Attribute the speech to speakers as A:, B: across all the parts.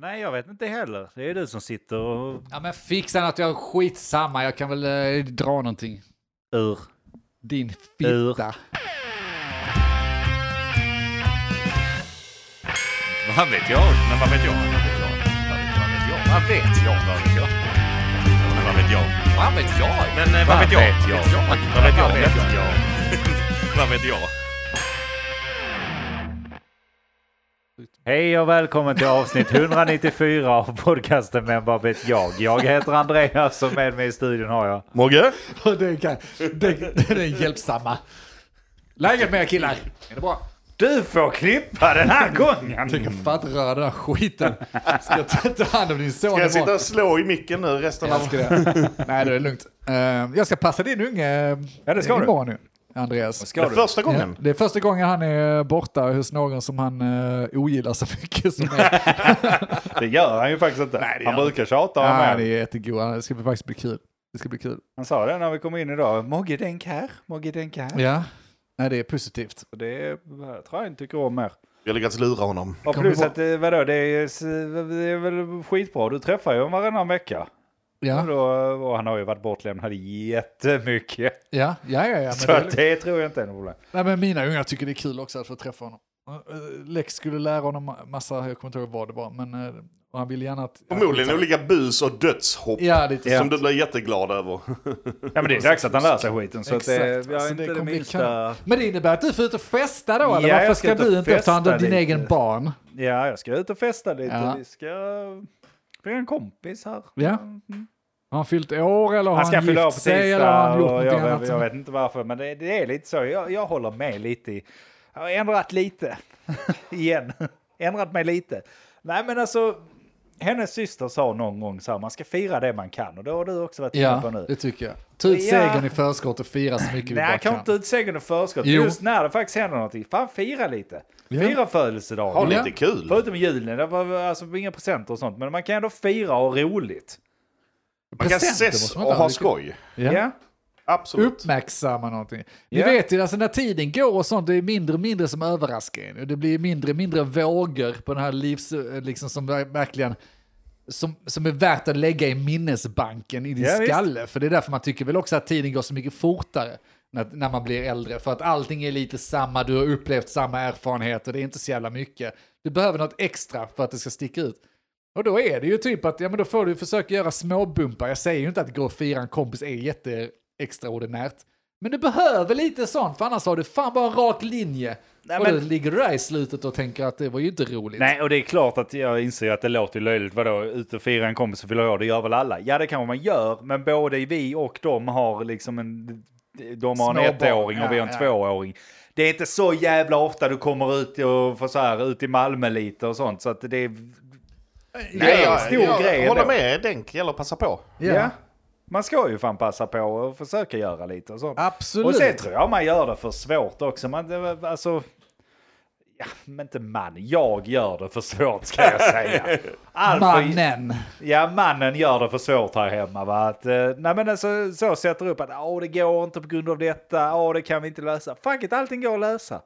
A: Nej, jag vet inte heller. Det är du som sitter och...
B: Ja men fixa något, jag skitsamma. Jag kan väl eh, dra någonting.
A: Ur.
B: Din
A: Ur.
B: fitta.
C: Vad vet jag? Men vad vet jag? Vad vet jag? Vad vet jag? Vad vet jag? Men vad vet jag? Vad vet jag? Men eh, vad vet jag?
A: vet jag?
C: Vad vet jag?
A: Vad vet jag?
C: Vad vet jag?
A: Hej och välkommen till avsnitt 194 av podcasten Men vad vet jag? Jag heter Andreas och med mig i studion har jag...
C: Mogge?
B: Och Det, kan, det, det är hjälpsamma. Läget med er killar? Är det bra?
A: Du får klippa den här gången!
B: Jag kan fan inte röra den här skiten. Ska jag ta- ta hand om din son
D: Ska jag
B: imorgon?
D: sitta och slå i micken nu resten
B: Jag
D: av...
B: ska det. Nej, det är lugnt. Eh, Jag ska passa din unge eh,
A: Ja, det ska du.
B: imorgon nu, Andreas.
D: Det
A: Ska
D: är
A: du?
D: första
B: Ja,
D: gången.
B: det är första gången han är borta hos någon som han eh, ogillar så mycket. Som är.
D: Det gör han ju faktiskt inte. han brukar tjata om
B: Nej, det
D: det.
B: är jättegod. Det ska faktiskt bli kul. Det ska bli kul.
A: Han sa det när vi kom in idag. Mogge Denk här, Mogge Denk här.
B: Ja, Nej, det är positivt.
A: Och Det är- tror jag inte tycker om mer.
D: Vi har lyckats lura honom.
A: Och
B: Kommer
A: plus
B: du
A: att eh, vadå, det är, s- det är väl skitbra. Du träffar ju honom varannan vecka. Och,
B: Ja,
A: då, eh, och han har ju varit bortlämnad jättemycket.
B: ja, ja. ja, ja men
A: Så
B: det är
A: att det tror jag inte är något problem.
B: Nej, men mina ungar tycker det är kul också att få träffa honom. Eh, eh, Lex skulle lära honom massa, jag kommer inte ihåg vad det var, men eh, och han ville gärna att...
D: Förmodligen olika bus och dödshopp.
B: Ja, lite
D: Som du blir jätteglad över.
A: Ja men det är dags att han lär sig skiten. Så att det,
B: Exakt,
A: jag
B: alltså,
A: är inte
B: det
A: det,
B: kommer bli
A: minsta...
B: Men det innebär att du får ut och festa då? Eller
A: Ja,
B: varför
A: jag
B: ska
A: ska ut och
B: du inte ta hand om
A: festa
B: din
A: lite.
B: egen barn?
A: Ja, jag ska ut och festa lite.
B: Ja.
A: Vi ska... Vi har en kompis här. Mm.
B: Ja. Har han fyllt år eller har
A: Han ska
B: han,
A: fylla år på
B: gift sig eller har
A: tisdag
B: han gjort
A: och
B: något
A: jag,
B: annat?
A: vet- jag
B: som-
A: vet inte varför men det, det är lite så. Jag, jag håller med lite i... Jag har ändrat lite. Igen. ändrat mig lite. Nej men alltså, hennes syster sa någon gång så här, man ska fira det man kan och det har du också varit inne på
B: Ja,
A: nu.
B: det tycker jag. Ta ut
A: Ja.
B: segern i förskott och fira så mycket vi bara
A: Nej, kan
B: kan.
A: inte ut segern i förskott.
B: Jo.
A: Just när det faktiskt händer någonting, fan fira lite.
B: Ja.
A: Fira födelsedagen.
D: Ha
B: Ja.
D: lite kul.
A: Förutom julen, det var alltså inga presenter och sånt, men man kan ändå fira och ha roligt.
D: Man kan
B: Presenter
D: ses
B: måste
D: och
B: man inte ha.
D: ha skoj.
B: Ja.
A: Ja.
D: Absolut.
B: Uppmärksamma någonting. Ni
A: Ja.
B: vet ju, alltså när tiden går och sånt, det är mindre och mindre som överraskar en. Och Det blir mindre och mindre vågor på den här livs... Liksom som ver- verkligen... Som, som är värt att lägga i minnesbanken i din
A: Ja, visst.
B: skalle. För det är därför man tycker väl också att tiden går så mycket fortare när, när man blir äldre. För att allting är lite samma, du har upplevt samma erfarenheter, det är inte så jävla mycket. Du behöver något extra för att det ska sticka ut. Och då är det ju typ att, ja men då får du försöka göra småbumpar. Jag säger ju inte att gå och fira en kompis är jätte extraordinärt. Men du behöver lite sånt, för annars har du fan bara en rak linje.
A: Nej,
B: och
A: men-
B: då ligger du där i slutet och tänker att det var ju inte roligt.
A: Nej, och det är klart att jag inser att det låter ju löjligt. Vadå, ut och fira en kompis och fylla år, det gör väl alla? Ja, det kanske man gör, men både vi och de har liksom en... De har en
B: Små
A: ettåring
B: barn,
A: och vi har en
B: ja, ja.
A: tvååring. Det är inte så jävla ofta du kommer ut och får så här, ut i Malmö lite och sånt, så att det är...
D: Nej,
A: det är en
D: jag,
A: stor
D: jag,
A: grej
D: håller
A: ändå.
D: med Denk. gäller att passa på.
A: Ja. Man ska ju fan passa på och försöka göra lite och sånt.
B: Absolut.
A: Och sen tror jag man gör det för svårt också. Man, det- alltså, ja, men inte man, jag gör det för svårt ska jag säga. Allt för-
B: Mannen.
A: Ja, mannen gör det för svårt här hemma. Va? Att, eh, nej, men alltså, så sätter upp att åh, det går inte på grund av detta, åh, det kan vi inte lösa. Fuck it, allting går att lösa.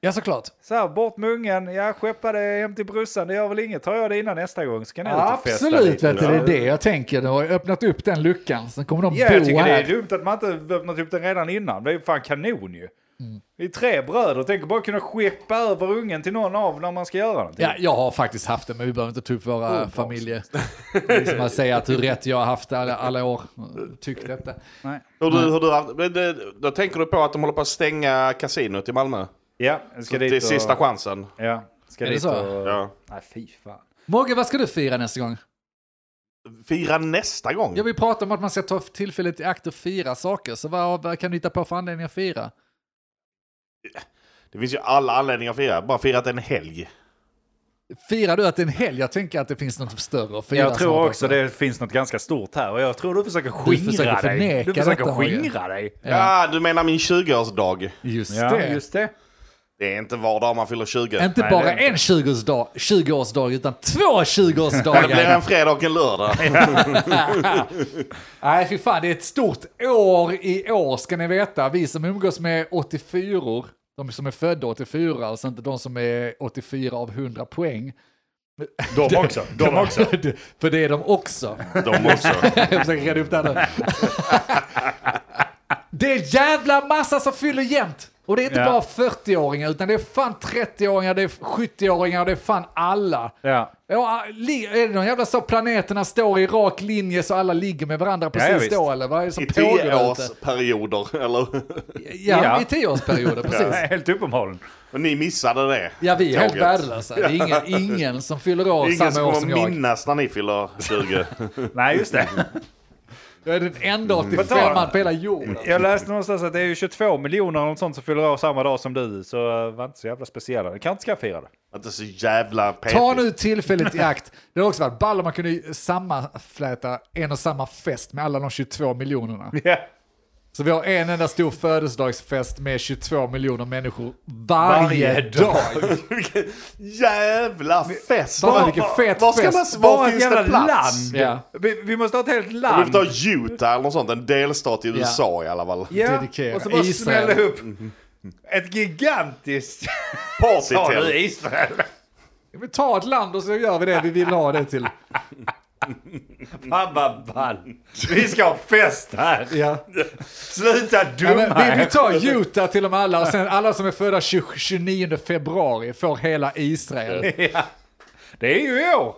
B: Ja, såklart.
A: Så här, bort med ungen, ja, skeppa det hem till brorsan, det gör väl inget. Tar jag det innan nästa gång så kan ni ut och festa
B: Absolut,
A: lite.
B: vet du, det är det jag tänker. Du har ju öppnat upp den luckan, sen kommer de
A: Ja, jag
B: bo
A: tycker det
B: här.
A: är dumt att man inte öppnat upp den redan innan. Det är ju fan kanon ju.
B: Mm.
A: Vi är tre bröder, tänk bara kunna skeppa över ungen till någon av när man ska göra någonting.
B: Ja, jag har faktiskt haft det, men vi behöver inte ta upp våra
A: Oh,
B: familjer. Liksom att säga att hur rätt jag har haft alla, alla år. Tyckt detta.
A: Nej.
D: Hur du, hur du, det- det- då tänker du på att de håller på att stänga kasinot i Malmö.
A: Ja, jag ska
D: Det
A: dit
D: är
A: och...
D: sista chansen.
A: Ja, ska
B: Är det
A: dit
B: så?
A: och...
D: Ja.
A: Nej, fy fan.
B: Mogge, vad ska du fira nästa gång?
D: Fira nästa gång.
B: Ja, vi pratar om att man ska ta tillfället i akt och fira saker, så vad, vad kan du hitta på för anledning att fira?
D: Det finns ju alla anledningar att fira. Bara fira att det är en helg.
B: Firar du att det är en helg? Jag tänker att det finns något större att fira.
A: Jag
B: snarare.
A: tror också det finns något ganska stort här och jag tror du försöker
B: Du
A: skingra
B: försöker
A: dig.
B: förneka
A: Du försöker
B: detta, Roger.
A: skingra dig.
B: Ja.
D: Ja, du menar min 20-årsdag.
B: Just
A: Ja,
B: det.
A: just det.
D: Det är inte var dag man fyller 20.
B: Inte
A: Nej, det är
B: bara
A: inte.
B: en 20-årsdag, 20-årsdag utan två
D: Det blir
B: 20-årsdagar.
D: en fredag och en lördag.
B: Nej, fy fan, det är ett stort år i år ska ni veta. Vi som umgås med 84 de som är födda 84, alltså inte de som är 84 av 100 poäng.
E: De också. De också.
B: För det är de också.
D: De också.
B: Jag försöker reda upp det här nu. Det är jävla massa som fyller jämt. Och det är inte
A: Ja.
B: bara 40-åringar, utan det är fan 30-åringar, det är 70-åringar, det är fan alla.
A: Ja.
B: Ja, li- är det någon jävla så planeterna står i rak linje så alla ligger med varandra
A: ja,
B: precis
A: visst.
B: då eller? Vad är det som
D: I
B: pågår där ute?
D: tioårsperioder, eller?
B: Ja,
A: Ja.
B: i tioårsperioder, precis.
A: Helt uppenbarligen.
D: Och ni missade det.
B: Ja, vi är helt
D: Tåget.
B: värdelösa. Det är ingen, ingen som fyller år
D: Ingen
B: samma år som
D: kommer
B: jag.
D: minnas när ni fyller 20.
A: Nej, just det.
B: Jag är den enda
A: Vad
B: 85an
A: tar-
B: på hela jorden.
A: Jag läste någonstans att det är ju 22 miljoner eller något sånt som fyller år samma dag som du. Så eh, var inte så jävla speciella. Det kanske inte ska fira det.
D: Att det är så jävla petigt.
B: Ta nu tillfället i akt. Det har också varit ball om man kunde ju sammanfläta en och samma fest med alla de 22 miljonerna.
A: Ja.
B: Så vi har en enda stor födelsedagsfest med 22 miljoner människor varje,
A: Varje
B: dag.
D: Vilken jävla fest!
B: Bara vilken fet
D: var ska
B: fest.
D: man, var
A: Bara ett
D: finns
A: jävla
D: det plats?
A: land.
B: Ja.
A: Vi, vi måste ha ett helt
D: Vi får
A: land.
D: ta Utah eller något sånt, en delstat i USA i alla fall.
A: Ja,
B: Dedikera.
A: och så bara
B: Israel.
A: smälla upp ett gigantiskt... Sa du
D: Partytält!
A: Israel?
B: Vi tar ett land och så gör vi det vi vill ha det till.
A: Fan vad ball. Vi ska ha fest här.
B: Ja.
A: Sluta
B: Ja,
A: dumma
B: men vi, vi
A: er.
B: tar Utah till och med alla och sen alla som är födda 20, 29 februari får hela Israel.
A: Ja. Det är ju i år.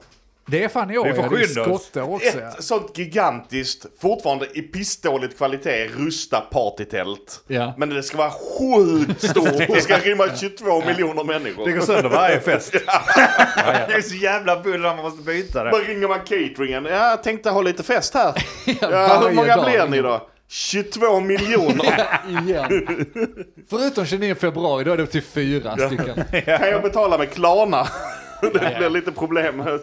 B: Det är fan i år.
A: Vi får
B: ja, det är
A: skynda oss.
B: skottar också. Ja.
D: Ett sånt gigantiskt, fortfarande i pissdåligt kvalitet, rusta partytält.
B: Ja.
D: Men det ska vara sjukt stort och det ska rymma 22 miljoner
A: Det går
D: människor.
A: sönder varje fest. Det är så jävla buller man måste byta
D: Då
A: det.
D: ringer man cateringen. Ja, jag tänkte ha lite fest här. Ja,
B: varje
D: hur många
B: dag.
D: blir ni då? 22 miljoner.
B: Igen. Förutom 29 februari, då är det upp till fyra stycken.
D: Kan jag betala med Klarna? Det blir lite problem.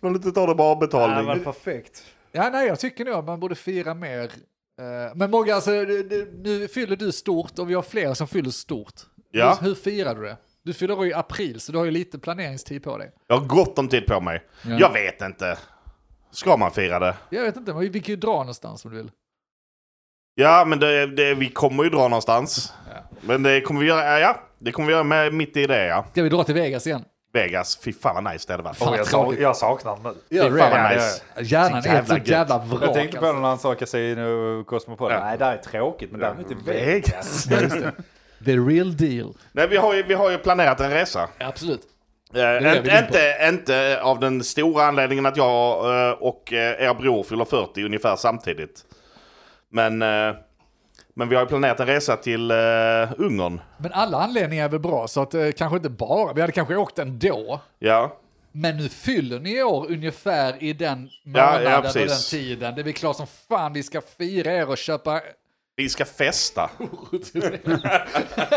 D: Man inte ta det bara
A: Ja,
D: avbetalning.
A: men perfekt.
B: Ja, nej, jag tycker nog att man borde fira mer. Eh, Men Mogge, alltså, du- du- nu fyller du stort och vi har fler som fyller stort.
D: Ja.
B: Hur, hur firar du det? Du fyller år i april, så du har ju lite planeringstid på dig.
D: Jag har gott om tid på mig. Jag vet inte. Ska man fira det?
B: Jag vet inte, men vi kan ju dra någonstans om du vill.
D: Ja, men det, det, vi kommer ju dra någonstans. Men det kommer vi göra, ja, det kommer vi göra med, mitt i det, ja.
B: Ska vi dra till Vegas igen?
D: Vegas, fy fan vad nice det hade varit.
B: Fan,
D: Fy
A: Jag, sa,
B: tråkigt.
A: jag saknar den nu.
B: Gör
D: fan vad
A: ja,
D: nice.
B: Hjärnan
D: Så
B: är ett
D: jävla
B: så
D: gött.
B: jävla vrak.
A: Jag tänkte på det
B: alltså.
A: när han sa Casino Cosmopol. Nej, det här är tråkigt, men däremot är det
D: Vegas.
B: The real deal.
D: Nej, vi har, ju, vi har ju planerat en resa.
B: Absolut.
D: Eh,
B: vi
D: inte,
B: in på.
D: inte, inte av den stora anledningen att jag eh, och eh, er bror fyller 40 ungefär samtidigt. Men, eh, men vi har ju planerat en resa till eh, Ungern.
B: Men alla anledningar är väl bra, så att eh, kanske inte bara. Vi hade kanske åkt ändå.
D: Ja.
B: Men nu fyller ni år ungefär i den månaden
D: ja,
B: och
D: precis.
B: den tiden. Det är väl klart som fan vi ska fira er och köpa...
D: Vi ska festa.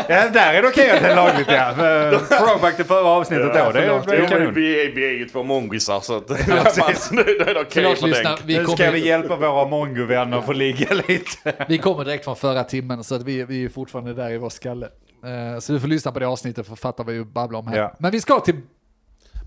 A: ja, Där är det okej att det är lagligt ja. Men Throwback till förra avsnittet då. Det är,
B: förlåt.
A: det är kanon.
D: vi, är, vi är ju två mongisar så att, nu, nu är det okej
B: Förlåt
D: för
B: lyssna,
D: den.
B: vi
A: Nu ska vi
B: kommer,
A: hjälpa våra mongovänner att få ligga lite.
B: vi kommer direkt från förra timmen så att vi, vi är fortfarande där i vår skalle. Eh, Så du får lyssna på det avsnittet för att fatta vad vi babblar om här.
A: Ja.
B: Men vi ska till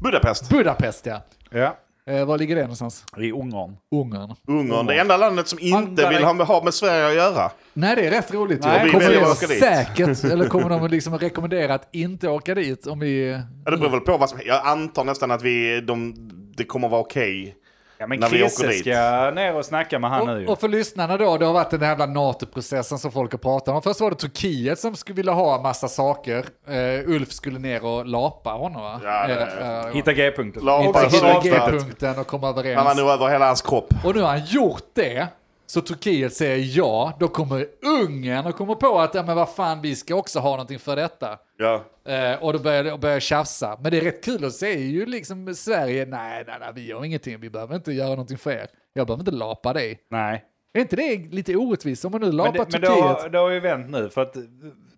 D: Budapest,
B: Budapest ja.
A: Ja,
B: Eh, Var ligger det någonstans?
A: i Ungern.
B: Ungern.
D: Ungern, det enda landet som inte
A: Andra-
D: vill ha med, ha med Sverige att göra.
B: Nej det är rätt roligt ju.
D: Nej, vi
B: Kommer
D: väljer
B: det
D: att åka dit.
B: säkert, eller kommer de liksom rekommendera att inte åka dit om vi...
D: Ja, det beror väl på vad som Jag antar nästan att vi, de, det kommer vara okej.
A: Ja, men
D: När vi åker
A: Chrisse
D: dit.
A: ska ner och snacka med han nu
B: Och,
A: ju.
B: och för lyssnarna då, det har varit den här jävla NATO-processen som folk har pratat om. Först var det Turkiet som skulle vilja ha en massa saker. Eh, Ulf skulle ner och lapa hohonom va?
D: Ja, det-
B: Eh, eh,
A: Hitta G-punkten.
D: Lapa
B: hitta-
D: och
B: hitta
D: slakta.
B: G-punkten och komma
D: Han var
B: överens.
D: nog över hela hans kropp.
B: Och nu har han gjort det. Så Turkiet säger ja, då kommer Ungern och kommer på att ja, men vad fan, vi ska också ha någonting för detta.
D: Ja.
B: Eh, och då börjar och börjar tjafsa. Men det är rätt kul att se ju liksom Sverige, nej, nej, nej, vi gör ingenting, vi behöver inte göra någonting för er. Jag behöver inte lapa dig.
A: Nej.
B: Är inte det lite orättvist om man nu
A: Men,
B: lapar
A: det, men
B: Turkiet?
A: det, har, det har ju vänt nu för att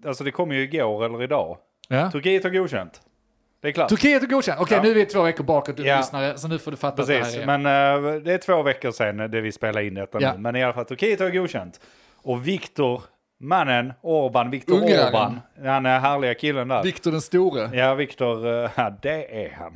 A: alltså, det kommer ju igår eller idag.
B: Ja.
A: Turkiet har godkänt. Det är klart.
B: Turkiet är godkänt. Okej, nu är vi två veckor bakåt, du
A: Ja.
B: lyssnare, så nu får du fatta att det
A: Precis,
B: här är.
A: men eh, det är två veckor sedan det vi spelar in detta
B: Ja.
A: nu. Men i alla fall, Turkiet har godkänt. Och Viktor, mannen, Orban, Viktor
B: Ungraren.
A: Orban, han är härliga killen där.
B: Viktor den store.
A: ja, Viktor, eh, ja, det är han.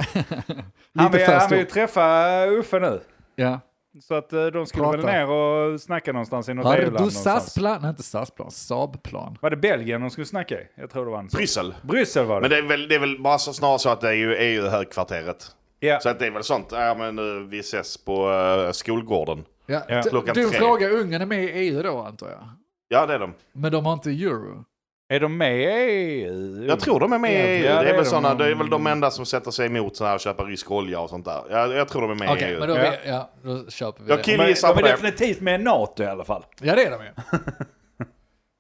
A: han,
B: Lite
A: vill,
B: för
A: han vill ju
B: stor.
A: träffa eh, Uffe nu.
B: Ja.
A: Så att eh, de skulle
B: Prata.
A: väl ner och snacka någonstans i något
B: Har
A: EU-land
B: du
A: någonstans.
B: SAS-plan? Nej, inte SAS-plan, Saab-plan.
A: Var det Belgien de skulle snacka i? Jag tror det var en sån.
D: Bryssel.
A: Bryssel var det.
D: Men det är väl, det är väl bara så snarare så att det är ju EU-högkvarteret.
A: Ja.
D: E Så att det är väl sånt, ja men nu, vi ses på eh, skolgården.
B: Ja.
A: Ja.
B: t-
D: Klockan
B: Du
D: tre.
B: frågar, Ungern är med i EU då antar jag?
D: Ja det är de.
B: Men de har inte
A: E
B: euro?
A: Är de med i EU?
D: Jag tror de är med i EU.
A: Ja,
D: det, är väl
A: de.
D: såna, det är väl de enda som sätter sig emot så här och köpa rysk olja och sånt där. Jag, jag tror de är med
B: Okej,
D: i E EU.
B: men då,
A: Ja.
B: ja. Ja, då köper vi
D: Jag
B: det.
A: De
D: kill-
A: är,
D: Gissa
A: de är
D: på det.
A: definitivt med i NATO i alla fall.
B: Ja, det är de ju.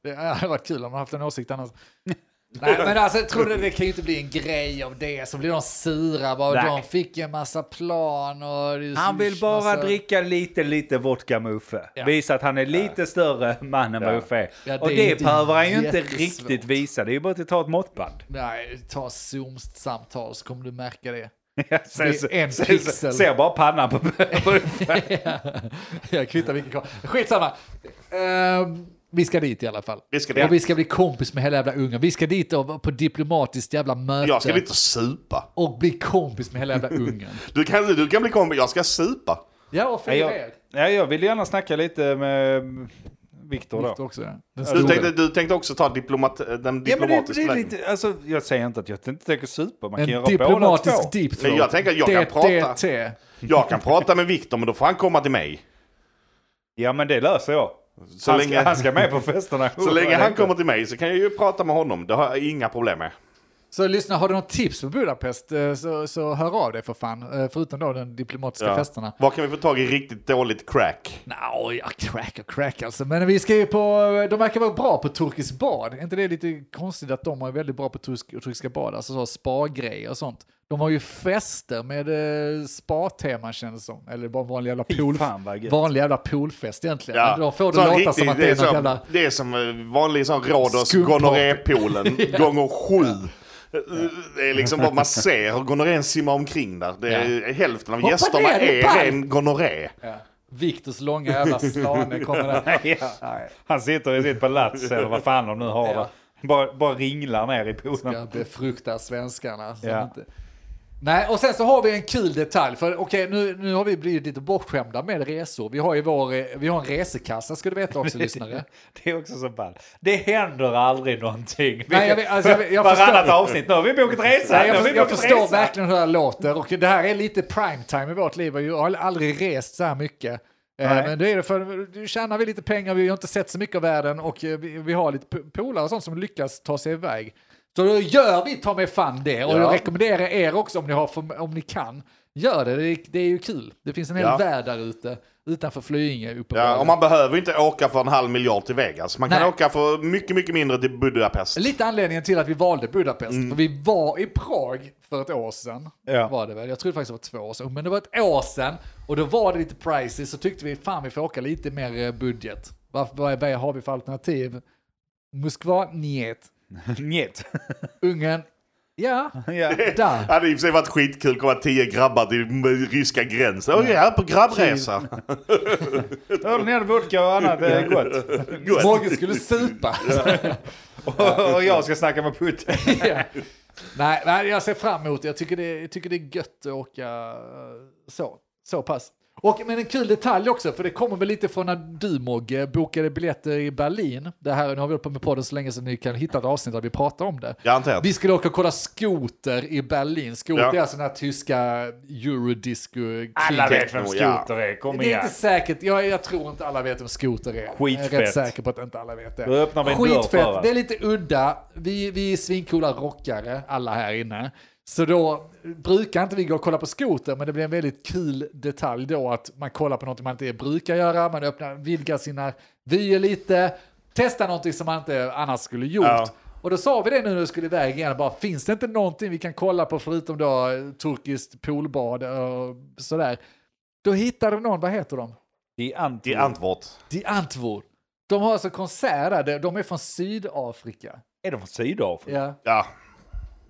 B: Det hade varit kul om de haft en åsikt annars. Nej, men alltså, tror du det kan ju inte bli en grej av det, så blir de sura. Bara,
A: Nej.
B: de fick en massa plan och... det är
A: Han vill
B: så-
A: bara
B: massa-
A: dricka lite, lite vodka med Uffe.
B: Ja.
A: Visa att han är lite större man än vad
D: Ja.
A: Uffe är.
B: Ja, det
A: Och
B: är
A: det
B: inte
A: behöver han ju inte
B: jättesvårt.
A: riktigt visa. Det är ju bara att ta ett måttband.
B: Nej, ta Zoom-samtal så kommer du märka det.
A: Sen,
B: Det är en
A: sen-
B: pixel.
A: Ser bara pannan på, på Uffe.
B: jag kvittar vilken kom. Skitsamma. Ehm, vi ska dit i alla fall.
D: Vi ska dit.
B: Och vi ska bli kompis med hela jävla Ungern. Vi ska dit och på diplomatiskt jävla möte.
D: Jag ska inte supa.
B: Och bli kompis med hela jävla Ungern.
D: Du kan, du kan bli kompis, jag ska supa.
B: ja, och för
A: Nej, jag,
B: er.
A: ja, jag vill gärna snacka lite med Viktor då.
B: Viktor också, ja. Den
D: Du
B: store.
D: tänkte, du tänkte också ta diplomat, eh, den
A: Ja, men det,
D: diplomatiska
A: det är
D: vägen.
A: lite, alltså, jag säger inte att jag inte tänker supa, man
B: en
A: kan göra båda två.
B: diplomatisk deep
D: Men jag tänker att jag kan prata.
B: DDT.
D: Jag kan prata med Viktor men då får han komma till mig.
A: Ja, men det löser jag.
D: Så
A: han,
D: länge-
A: ska, han ska med på festerna.
D: Så länge han kommer till mig så kan jag ju prata med honom. Det har jag inga problem med.
B: Så lyssna, har du något tips på Budapest eh, så, så hör av dig för fan. Eh, Förutom då den diplomatiska
D: Ja.
B: festerna.
D: Var kan vi få tag i riktigt dåligt crack?
B: Nå, ja, crack och crack alltså. Men vi ska ju på, eh, de verkar vara bra på turkisk bad. Är inte det lite konstigt att de är väldigt bra på turk, turkiska bad? Alltså så spa-grejer och sånt. De har ju fester med eh, spa-tema känns det som. Eller bara vanlig jävla, pool,
A: fan, vad gött.
B: vanlig jävla poolfest egentligen. Men då får det
D: Sån
B: låta
D: riktig-
B: som att det är något
D: som,
B: jävla...
D: Det är som eh, vanlig sån Rhodos
B: Skumparty.
D: gonorrépoolen gånger sju. Det är liksom bara man ser hur gonorrén simmar omkring där. Det är, Hälften av
B: Hoppa
D: gästerna
B: ner i
D: är
B: pall.
D: ren gonorré.
B: Ja. Viktors långa jävla slane kommer där.
A: Ja. Han sitter i sitt palats eller vad fan de nu har
B: Ja.
A: det. Bara, bara ringlar ner i poolen.
B: ska befrukta svenskarna. Så
A: Ja.
B: att inte... Nej, och sen så har vi en kul detalj. För okej, nu, nu har vi blivit lite bortskämda med resor. Vi har ju vår, eh, vi har en resekassa ska du veta också lyssnare.
A: Det är också så ball. Det händer aldrig någonting.
B: Nej, jag vet- alltså, jag vet- jag
A: Varannat
B: förstår.
A: avsnitt. Nu har vi bokat resa.
B: Nej,
A: Nu har
B: jag,
A: vi
B: för, jag
A: bokat
B: förstår
A: resa.
B: verkligen hur det här låter och det här är lite primetime i vårt liv. och Jag har aldrig rest så här mycket. Eh,
A: Nej.
B: Men då är det för, nu tjänar vi lite pengar, vi har inte sett så mycket av världen och eh, vi, vi har lite p- polare och sånt som lyckas ta sig iväg. Så då gör vi ta mig fan det och jag rekommenderar er också om ni, har för, om ni kan. Gör det, det är, det är ju kul. Det finns en hel
D: Ja.
B: värld där ute utanför Flyinge uppenbarligen.
D: Ja, och man behöver inte åka för en halv miljard till Vegas. Man kan
B: Nej.
D: åka för mycket, mycket mindre till Budapest.
B: Lite anledningen till att vi valde Budapest, för vi var i Prag för ett år sedan.
A: Ja.
B: Var det väl? Jag tror faktiskt det var två år sedan, men det var ett år sedan. Och då var det lite pricey, så tyckte vi fan vi får åka lite mer eh, budget. Vad, vad, är- vad har vi för alternativ? Moskva, njet.
A: Njet.
B: Ungern, ja,
A: Ja.
B: där.
D: Det hade i och för sig varit skitkul att komma tio grabbar till m- ryska gränsen. Åh, jag är på grabbresa.
A: Öl, ner, vodka och annat är gott.
B: Morgan skulle supa.
A: Och, och jag ska snacka med Putin.
B: Ja. nej, nej, jag ser fram emot det. Jag tycker det, jag tycker det är gött att åka eh, så, så pass. Och, men en kul detalj också, för det kommer väl lite från när du Mogge bokade biljetter i Berlin. Det här, nu har vi hållit på med podden så länge så ni kan hitta ett avsnitt där vi pratar om det.
D: Garanterat.
B: Vi skulle åka och kolla skoter i Berlin. Skoter
D: Ja.
B: är alltså den här tyska eurodisco
A: Alla vet vem
D: Techno, ja.
A: skoter är. Kom
B: Det är
A: igen.
B: inte säkert, jag, jag tror inte alla vet vem skoter är.
A: Skitfett.
B: Jag är rätt säker på att inte alla vet det.
A: Då öppnar vi en dörr för
B: Skitfett,
A: oss.
B: det är lite udda. Vi, vi är svincoola rockare, alla här inne. Så då brukar inte vi gå och kolla på skoter, men det blir en väldigt kul detalj då att man kollar på något man inte brukar göra, man öppnar, vidgar sina vyer lite, testar någonting som man inte annars skulle gjort.
D: Ja.
B: Och då sa vi det nu när vi skulle iväg igen, bara, finns det inte någonting vi kan kolla på förutom då eh, turkiskt poolbad och sådär. Då hittade någon, vad heter de?
A: Det är anti.
D: I Antwort.
B: Die Antwoord. De har alltså konserter, där, de är från Sydafrika.
A: Är de från Sydafrika?
B: Ja.
D: Ja.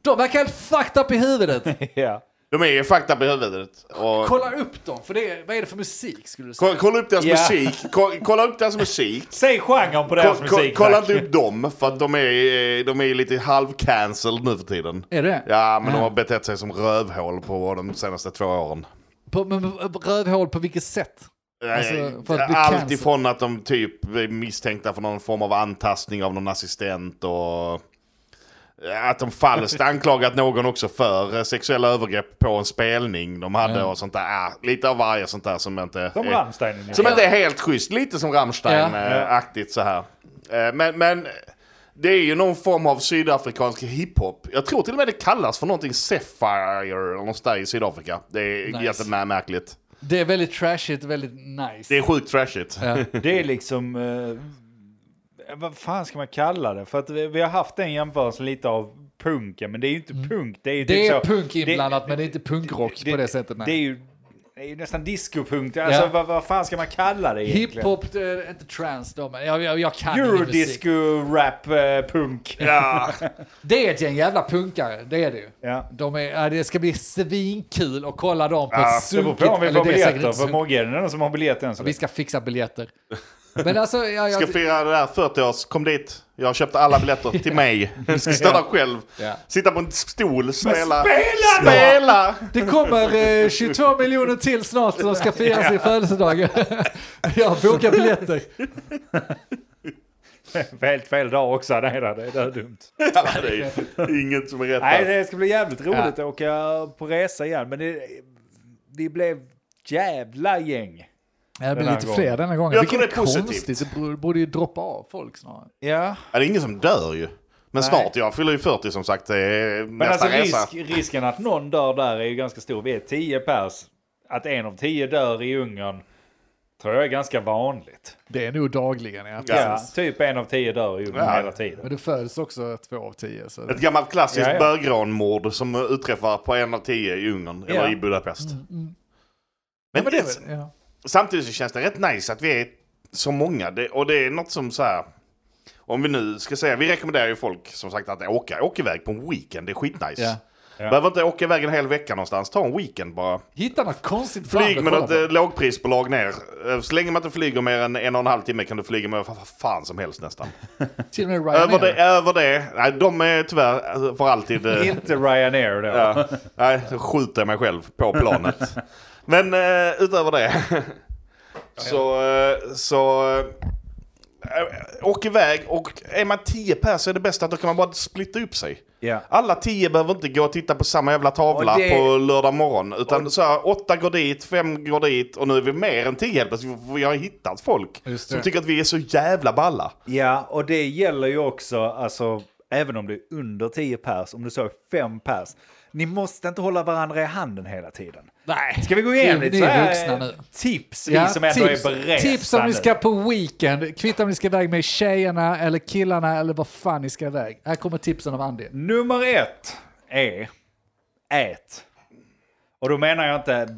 B: De verkar helt fucked up i huvudet.
A: Ja.
D: De är ju fakta på huvudet. Och...
B: Kolla upp dem, för det är, vad är det för musik skulle du säga?
D: Ko- Kolla upp deras
A: Ja.
D: musik. Ko- Kolla upp deras musik.
A: Säg genren på
D: Ko-
A: deras
D: ko-
A: musik.
D: kolla
A: tack.
D: inte upp dem, för att de är, eh, de är lite halv-cancelled nu för tiden.
B: Är det?
D: Ja, men de har betett sig som rövhål på de senaste två åren.
B: På, men, rövhål på vilket sätt? Alltså,
D: Eh,
B: för att bli
D: Allt
B: cancelled.
D: ifrån att de typ är misstänkta för någon form av antastning av någon assistent och... att de falskt anklagat någon också för eh, sexuella övergrepp på en spelning de hade och sånt där. Ah, lite av varje sånt där som inte...
A: Som
D: är-
A: Rammstein. ungefär.
D: Som inte är helt schysst, lite som Rammstein-aktigt så här. Eh, Men, men det är ju någon form av sydafrikansk hiphop. Jag tror till och med det kallas för någonting Sapphire eller något sånt där i Sydafrika. Det är
B: Nice.
D: jättemärkligt.
B: Det är väldigt trashigt, väldigt nice.
D: Det är sjukt trashigt.
B: Ja.
A: Det är liksom... eh, vad fan ska man kalla det? För att vi, vi har haft den jämförelsen lite av punken, men det är ju inte punk. Det är, ju
B: Mm. Det
A: typ
B: är
A: så-
B: punk
A: det-
B: inblandat, men det är inte punkrock på det sättet.
A: Det är
B: nej.
A: ju, det är ju nästan discopunk. Alltså
B: Ja.
A: vad, vad fan ska man kalla det egentligen?
B: Hiphop, det är inte trans då, men jag, jag, jag kan ingen musik.
A: Eurodisco, rap, eh, punk.
D: Ja,
B: Det är ett gäng jävla punkare, det är det ju.
A: Ja.
B: De är, ja, det ska bli svinkul att kolla dem på ett
A: Det beror
B: sunkigt...
A: på om vi
B: eller
A: får
B: det är säkert
A: biljetter,
B: inte
A: för
B: sunkigt.
A: Mogge är den enda som har biljetter än så
B: Vi
A: länge.
B: ska fixa biljetter. Men alltså, ja,
D: ska
B: jag,
D: fira det där 40-års, kom dit. Jag köpte alla biljetter till mig. Du ska stå där själv,
B: Ja.
D: sitta på en stol, spela.
A: spela då!
D: Spela!
B: det kommer eh, 22 miljoner till snart som ska fira sin födelsedag. jag bokar biljetter.
A: Helt fel dag också där nere, det är dumt.
D: Ja, det är ju inget som är rätt
A: Nej,
D: där.
A: det ska bli jävligt roligt att åka på resa igen, men det, vi blev jävla gäng.
B: Det blir
A: Den här
B: lite
A: gången.
B: fler denna gången.
D: Jag tror
B: Vilket
D: det är positivt.
B: konstigt. Det borde- borde ju droppa av folk snarare.
A: Ja,
D: Ja, det är ingen som dör ju. Men snart, jag fyller ju 40 som sagt. Det är
A: men
D: nästa
A: alltså
D: resa.
A: risk, risken att någon dör där är ju ganska stor. Vi är tio pers. Att en av tio dör i Ungern tror jag är ganska vanligt.
B: Det är nog dagligen. Ja.
D: Ja.
A: Ja, typ en av tio dör i Ungern
D: Ja.
A: hela tiden.
B: Men det föds också två av tio. Så
D: Ett gammalt klassiskt
A: Ja, ja.
D: bögrånmord som utträffar på en av tio i Ungern,
A: Ja. Mm,
D: eller i Budapest. Men,
B: men det är
D: det-
B: väl- ja.
D: samtidigt så känns det rätt nice att vi är så många. Det, och det är något som så här... Om vi nu ska säga, vi rekommenderar ju folk som sagt att åka, åka iväg på en weekend, det är skitnice.
B: Ja.
A: Ja.
D: Behöver inte åka iväg en hel vecka någonstans, ta en weekend bara.
B: Hitta något konstigt
D: Flyg
B: att
D: med
B: kolla
D: något
B: på.
D: eh, lågprisbolag ner. Eh, Så länge man inte flyger mer än en och en halv timme kan du flyga med vad vad fan som helst nästan.
B: Till och med
D: Över det,
B: Ryanair.
D: över det. Nej, de är tyvärr eh, för alltid... eh,
A: Inte Ryanair då.
D: Ja. Nej, då skjuter jag mig själv på planet. Men eh, utöver det så... Eh, så eh, åk iväg och är man 10 pers så är det bäst att då kan man bara splitta upp sig.
A: Ja.
D: Alla 10 behöver inte gå och titta på samma jävla tavla
A: Och det-
D: på lördag morgon. Utan så här, åtta går dit, fem går dit och nu är vi mer än 10 helt plötsligt. för Vi har hittat folk
B: Just det.
D: som tycker att vi är så jävla balla.
A: Ja, och det gäller ju också, alltså, även om du är under 10 pers, om du så är 5 pers, ni måste inte hålla varandra i handen hela tiden.
B: Nej.
A: Ska vi gå igenom
B: Ni-
A: lite
B: ni
A: så
B: är
A: här,
B: vuxna nu.
A: tips,
B: eh, Ja,
A: vi som ändå
B: tips,
A: är beresta
B: tips om ni
A: nu.
B: ska på weekend. Kvittar om ni ska iväg med tjejerna eller killarna eller vad fan ni ska iväg. Här kommer tipsen av Andy.
A: Nummer ett är ät. Och då menar jag inte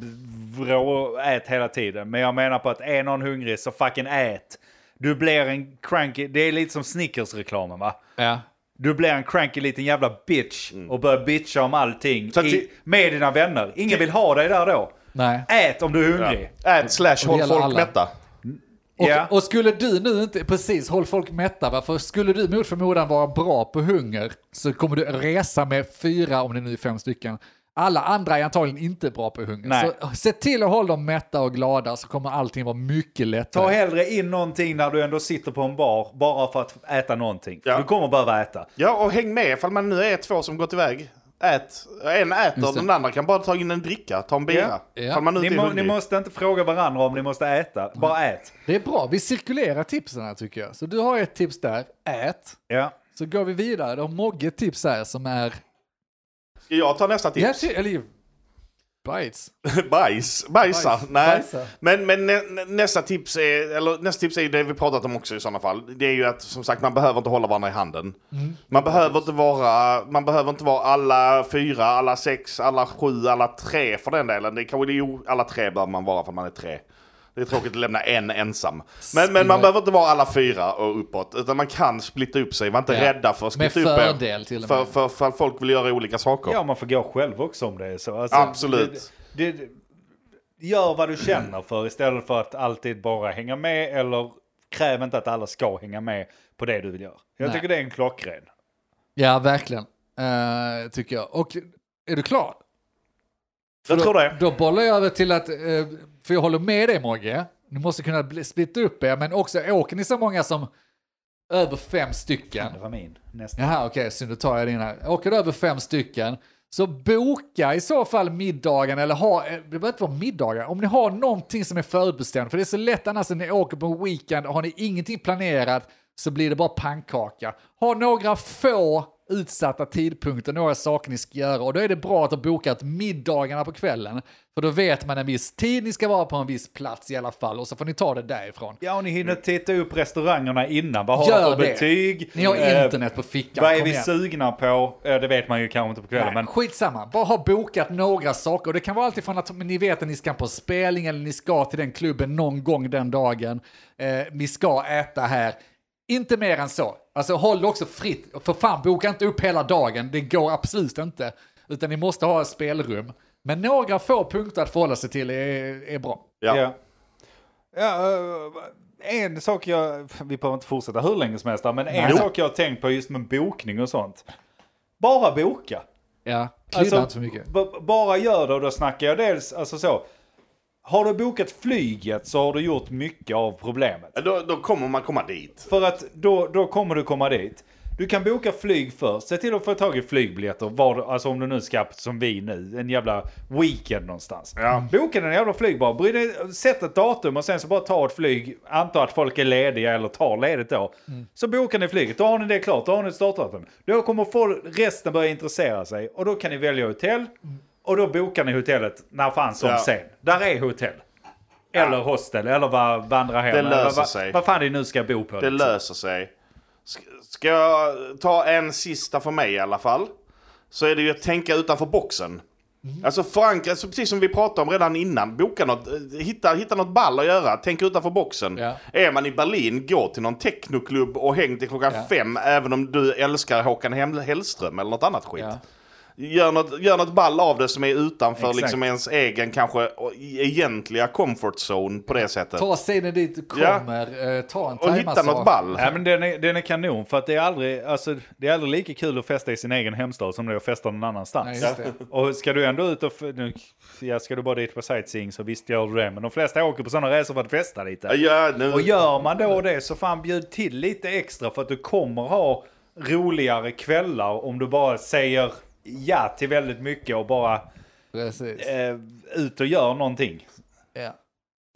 A: vrå, ät hela tiden, men jag menar på att är någon hungrig så fucking ät. Du blir en cranky, det är lite som Snickers-reklamen va?
B: Ja.
A: Du blir en cranky liten jävla bitch och börjar bitcha om allting
D: Mm. Så att
A: i,
D: ti-
A: med dina vänner. Ingen vill ha dig där då.
B: Nej.
A: Ät om du är hungrig.
D: Ät Äh, slash håll
B: gäller
D: folk
B: alla.
D: mätta.
B: Och,
A: Ja.
B: och skulle du nu inte, precis, håll folk mätta va? För skulle du mot förmodan vara bra på hunger så kommer du resa med fyra, om det nu är fem stycken. Alla andra är antagligen inte bra på hunger.
A: Nej.
B: Så se till att hålla dem mätta och glada så kommer allting vara mycket lättare.
A: Ta hellre in någonting när du ändå sitter på en bar bara för att äta någonting.
D: Ja.
A: Du kommer behöva äta.
D: Ja, och häng med ifall man nu är två som gått iväg. Ät. En äter,
B: Just det.
D: den andra kan bara ta in en dricka, ta en bira.
B: Ja.
D: Ifall man nu
A: Ni,
D: inte
A: må,
D: är
A: ni
D: hungrig.
A: måste inte fråga varandra om ni måste äta. Bara ät.
B: Det är bra, vi cirkulerar tipsen här tycker jag. Så du har ett tips där, ät.
A: Ja.
B: Så går vi vidare, då har Mogge ett tips här som är...
D: Ska jag ta nästa
B: Ja,
D: tips?
B: ty- eller bites.
D: Bajs. Bajsa.
B: Bajs.
D: Nej.
B: Bajsa.
D: Men, men nä, nä- nästa tips är, eller nästa tips är ju det vi pratat om också i sådana fall. Det är ju att som sagt man behöver inte hålla varandra i handen.
B: Mm.
D: Man, behöver inte vara, man behöver inte vara alla fyra, alla sex, alla sju, alla tre för den delen. Det kanske det jo, alla tre bör man vara för man är tre. Det är tråkigt att lämna en ensam. Men, men man behöver inte vara alla fyra och uppåt. Utan man kan splitta upp sig. Var inte
B: Ja.
D: rädda för att
B: Med
D: splitta upp er.
B: fördel till och
D: För,
B: med.
D: för, för att folk vill göra olika saker.
A: Ja, man får gå själv också om det är så. Alltså,
D: Absolut.
A: Det, det, gör vad du känner för istället för att alltid bara hänga med eller kräv inte att alla ska hänga med på det du vill göra. Jag
B: Nej.
A: tycker det är en klockren.
B: Ja, verkligen. Eh, tycker jag. Och är du klar?
D: Jag tror det.
B: Då bollar jag över till att, eh, för jag håller med dig Mogge, ni måste kunna bli- splitta upp er, men också åker ni så många som över fem stycken.
A: Det var min. Nästa.
B: Jaha, okej, så nu tar jag din här. Åker du över fem stycken, så boka i så fall middagen, eller ha, eh, det behöver inte vara middagar, om ni har någonting som är förutbestämt, för det är så lätt annars när ni åker på en weekend och har ni ingenting planerat så blir det bara pannkaka. Ha några få utsatta tidpunkter, några saker ni ska göra och då är det bra att ha bokat middagarna på kvällen. För då vet man en viss tid ni ska vara på en viss plats i alla fall och så får ni ta det därifrån.
A: Ja, och ni hinner titta upp restaurangerna innan. Vad har
B: Mm. Gör
A: de för
B: det.
A: betyg?
B: Ni har
A: Eh,
B: internet på fickan.
A: Vad är
B: kom
A: vi
B: igen.
A: sugna på? Eh, Det vet man ju kanske inte på kvällen, men
B: Skitsamma, bara ha bokat några saker. Och det kan vara alltifrån att ni vet att ni ska på spelning eller ni ska till den klubben någon gång den dagen. Eh, ni ska äta här. Inte mer än så. Alltså håll det också fritt. För fan, boka inte upp hela dagen. Det går absolut inte. Utan ni måste ha spelrum. Men några få punkter att förhålla sig till är, är bra.
D: Ja.
A: Ja. Ja, eh, en sak jag, vi behöver inte fortsätta hur länge som helst, där, men en
B: Nej.
A: sak jag har tänkt på just med bokning och sånt. Bara boka.
B: Ja, krydda
A: Alltså,
B: inte för mycket.
A: b- bara gör det och då snackar jag dels, alltså så. Har du bokat flyget så har du gjort mycket av problemet.
D: Då, då kommer man komma dit.
A: För att då, då kommer du komma dit. Du kan boka flyg först, se till att få tag i flygbiljetter, var, alltså om du nu ska, som vi nu, en jävla weekend någonstans.
D: Ja.
A: Boka den jävla flyg bara, Bry dig- sätt ett datum och sen så bara ta ett flyg, anta att folk är lediga eller tar ledigt då.
D: Mm.
A: Så bokar ni flyget, då har ni det klart, då har ni ett startdatum. Då kommer folk, resten börja intressera sig och då kan ni välja hotell och då bokar ni hotellet när fan som
D: Mm. Ja.
A: sen. Där är hotell. Eller hostel, eller vad vandra hem.
D: Det
A: eller
D: löser
A: vad,
D: sig.
A: Vad fan det nu ska bo på.
D: Det
A: liksom.
D: löser sig. Ska, ska jag ta en sista för mig i alla fall? Så är det ju att tänka utanför boxen. Alltså förankra, alltså precis som vi pratade om redan innan. Boka något, eh, hitta, hitta något ball att göra. Tänk utanför boxen.
B: Ja.
D: Är man i Berlin, gå till någon technoklubb och häng till klockan
B: Ja.
D: fem. Även om du älskar Håkan Hem- Hellström eller något annat skit.
B: Ja.
D: Gör något, gör något ball av det som är utanför
A: Exakt.
D: liksom ens egen kanske och i- egentliga comfort zone på det sättet.
B: Ta scenen dit du
D: Ja.
B: kommer, eh, ta en
D: Och hitta
B: thaimassage.
D: något ball.
A: Ja, men den, är, den är kanon för att det är, aldrig, alltså, det är aldrig lika kul att festa i sin egen hemstad som det är att festa någon
B: Nej,
A: annanstans.
B: just det.
A: och ska du ändå ut och... f- Nu, ja, ska du bara dit på sightseeing så visst gör du det. Men de flesta åker på sådana resor för att festa lite.
D: Ja, nu,
A: Och gör man då det så fan bjud till lite extra för att du kommer ha roligare kvällar om du bara säger ja till väldigt mycket och bara
B: Precis.
A: eh, ut och gör någonting.
B: Ja.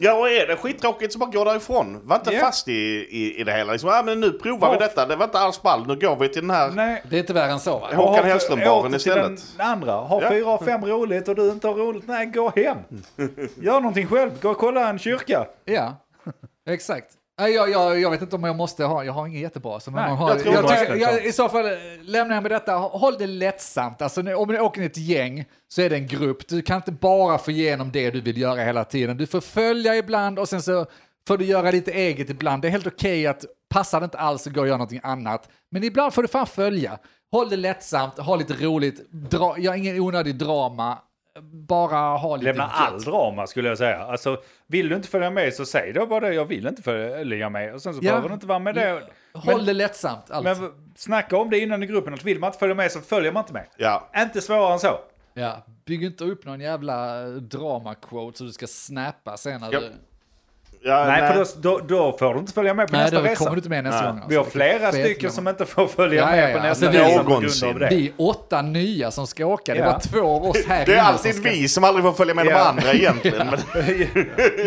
D: Ja, och är det skittråkigt så bara gå därifrån. Var inte
A: Ja.
D: fast i, i, i det hela. Liksom, ja, men nu provar vi
A: Ja.
D: detta. Det var inte alls ball. Nu går vi till den här.
A: Nej.
B: Det är inte värre än så va?
D: Ja. Håkan
A: Och ha för-
D: Hellström-baren
A: åter till
D: istället.
A: Den andra. Har
D: Ja.
A: fyra av fem roligt och du inte har roligt, nej gå hem. Gör någonting själv, gå och kolla en kyrka.
B: Ja, exakt. Nej, Jag, jag, jag vet inte om jag måste ha, jag har inget jättebra. Så men
A: Nej,
B: man har,
A: jag
B: jag
A: tror man
B: tycker,
A: måste
B: jag,
A: ta.
B: I så fall eh, lämnar jag med detta, håll det lättsamt. Alltså, nu- om ni åker ni ett gäng så är det en grupp. Du kan inte bara få igenom det du vill göra hela tiden. Du får följa ibland och sen så får du göra lite eget ibland. Det är helt okej att passar det inte alls så går och göra någonting annat. Men ibland får du fan följa. Håll det lättsamt, ha lite roligt, dra, gör ingen onödig drama. Bara ha lite
A: Lämna
B: gött.
A: all drama skulle jag säga. Alltså, vill du inte följa med så säg då bara det, jag vill inte följa med. Och sen så
B: Ja.
A: behöver du inte vara med det.
B: Håll det lättsamt. Alltså.
A: Men snacka om det innan i gruppen, att vill man inte följa med så följer man inte med.
D: Ja.
A: Inte svårare än så.
B: Ja, bygg inte upp någon jävla eh, drama-quote så du ska snappa sen. När
D: Ja,
B: du...
D: Ja,
A: Nej, för då, då, då får du inte följa med på
B: Nej,
A: nästa
B: då
A: resa.
B: kommer du inte med nästa gång.
A: Vi har
B: alltså.
A: flera
B: Fet
A: stycken
B: nummer.
A: som inte får följa
B: Ja, ja,
A: med
B: ja.
A: på nästa
B: Alltså, vi-
A: resa på grund av
D: Någonsin.
A: det.
B: Vi är åtta nya som ska åka. Det
A: Ja.
B: är bara två av oss här
D: Det är
B: inne
D: alltid
B: som ska...
D: vi som aldrig får följa med de
A: Ja.
D: andra egentligen. Men,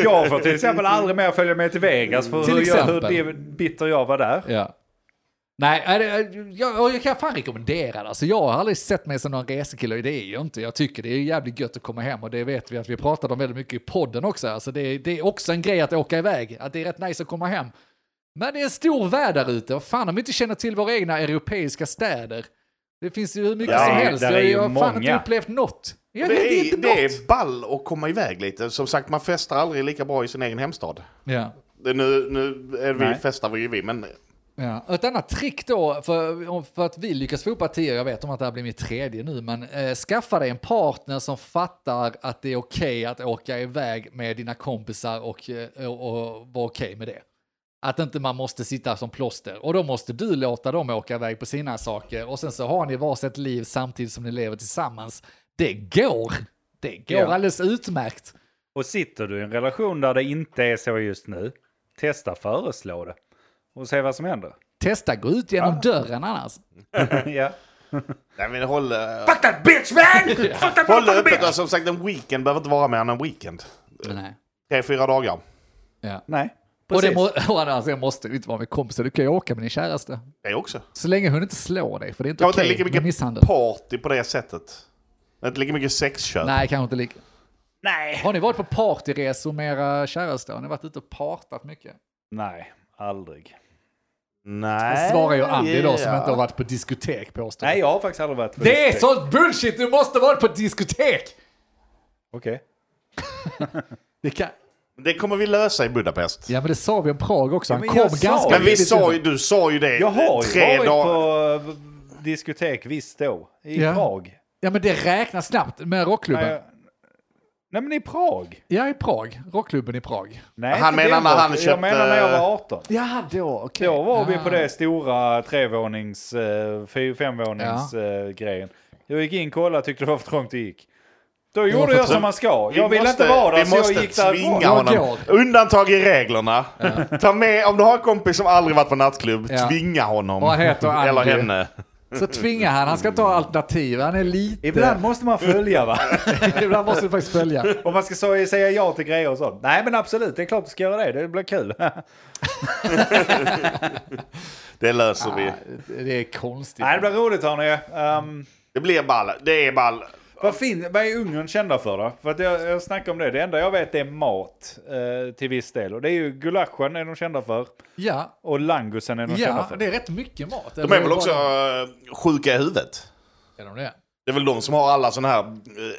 A: Jag får till exempel aldrig mer följa med till Vegas för
B: Till
A: hur, jag, hur
B: exempel.
A: bi- bitter jag var där.
B: Ja. Nej, är det- jag, och jag kan fan rekommendera det. Alltså, jag har aldrig sett mig som någon resekille, och det är jag inte. Jag tycker det är jävligt gött att komma hem och det vet vi att vi pratade om väldigt mycket i podden också. Alltså, det, är- det är också en grej att åka iväg, att det är rätt nice att komma hem. Men det är en stor värld där ute och fan om vi inte känner till våra egna europeiska städer. Det finns ju hur mycket
D: Ja,
B: som
D: det-
B: helst.
A: där
B: Jag,
A: är ju
B: jag har fan inte
A: många.
B: upplevt något. Jag vet
D: det,
B: inte
D: är, det
B: något.
D: är ball att komma iväg lite. Som sagt, man festar aldrig lika bra i sin egen hemstad.
B: Ja.
D: Det- Nu, nu är vi,
A: Nej.
D: festar vi ju vi, men
B: Ja. Ett annat trick då, för, för att vi lyckas få upp partier, jag vet om att det här blir mitt tredje nu, men eh, skaffa dig en partner som fattar att det är okej att åka iväg med dina kompisar och, eh, och, och vara okej med det. Att inte man måste sitta som plåster. Och då måste du låta dem åka iväg på sina saker och sen så har ni varsitt liv samtidigt som ni lever tillsammans. Det går! Det går
A: Ja.
B: alldeles utmärkt.
A: Och sitter du i en relation där det inte är så just nu, testa föreslå det. Och se vad som händer.
B: Testa gå ut genom dörren annars.
A: ja.
D: Nej men håll... eh,
A: Fuck that bitch man! Fuck that
D: Håll
A: motherfucking
D: öppet.
A: bitch!
D: Och Som sagt, en weekend behöver inte vara mer än en weekend.
B: Nej.
D: Tre, fyra dagar.
B: Ja.
A: Nej,
B: Och det
A: precis.
B: må, å andra sidan måste du inte vara med kompisar, du kan ju åka med din käraste.
D: Det också.
B: Så länge hon inte slår dig, för det är inte
D: Kanske
B: okej
D: inte lika
B: med
D: mycket
B: misshandel.
D: party på det sättet. Det är Inte lika mycket sexköp.
B: Nej, kanske inte lika.
A: Nej.
B: Har ni varit på partyresor med era käraste? Har ni varit ute och partat mycket?
A: Nej, aldrig.
D: Nej.
B: Svarar ju Andy då som
D: yeah.
B: inte har varit på diskotek påstår
A: Nej,
B: jag.
A: jag har faktiskt aldrig varit på
B: Det är
A: diskotek.
B: sånt bullshit! Du måste vara på diskotek!
A: Okej.
B: Det kan...
D: Det kommer vi lösa i Budapest.
B: Ja men det sa vi om Prag också, han
A: men
B: kom
A: jag
B: ganska
A: sa ju-
D: Men vi
B: tidigt
D: sa
B: in.
D: ju, du sa ju det.
A: Jag har ju
D: tre
A: varit
D: dagar.
A: på eh, diskotek visst då, i
B: Ja.
A: Prag.
B: Ja men det räknas knappt med rockklubben.
A: Nej, nej men i Prag.
B: Ja i Prag, rockklubben i Prag.
A: Nej,
D: Han
A: inte
D: menar
A: den
D: när han
A: bort. Jag
D: köpte-
A: menar när jag var 18.
B: Ja då, okej.
A: Då var vi
B: Ah.
A: på det stora trevånings, eh, fy- femvånings
B: Ja.
A: eh, grejen. Jag gick in, kollade, tyckte det var för trångt och gick. Då gjorde
B: för
A: jag som
B: trångt.
A: man ska. Jag
D: Vi
A: ville
D: måste-
A: inte vara där
D: vi
A: så jag
D: måste
A: gick
D: tvinga
A: därifrån.
D: honom. Undantag i reglerna. Ta med, om du har en kompis som aldrig varit på nattklubb,
B: Ja.
D: tvinga honom.
B: Och han heter Andy.
D: Eller henne.
B: Så tvingar han, han ska ta alternativ, han är lite...
A: Ibland måste man följa va?
B: Ibland måste du faktiskt följa.
A: Om man ska så- säga ja till grejer och sånt. Nej men absolut, det är klart du ska göra det. Det blir kul.
D: Det löser vi.
B: Ah, Det är konstigt.
A: Nej det blir roligt hörni. Um,
D: Det blir ball. Det är ball.
A: vad, fin, vad är Ungern kända för då? För att jag, jag snackar om det. Det enda jag vet är mat eh, till viss del. Och det är ju gulaschen är de kända för.
B: Ja,
A: Och langusen är de kända
B: ja,
A: för.
B: det är rätt mycket mat.
D: De är väl också eh, sjuka i huvudet?
B: Är de det?
D: Det är väl de som har alla sådana här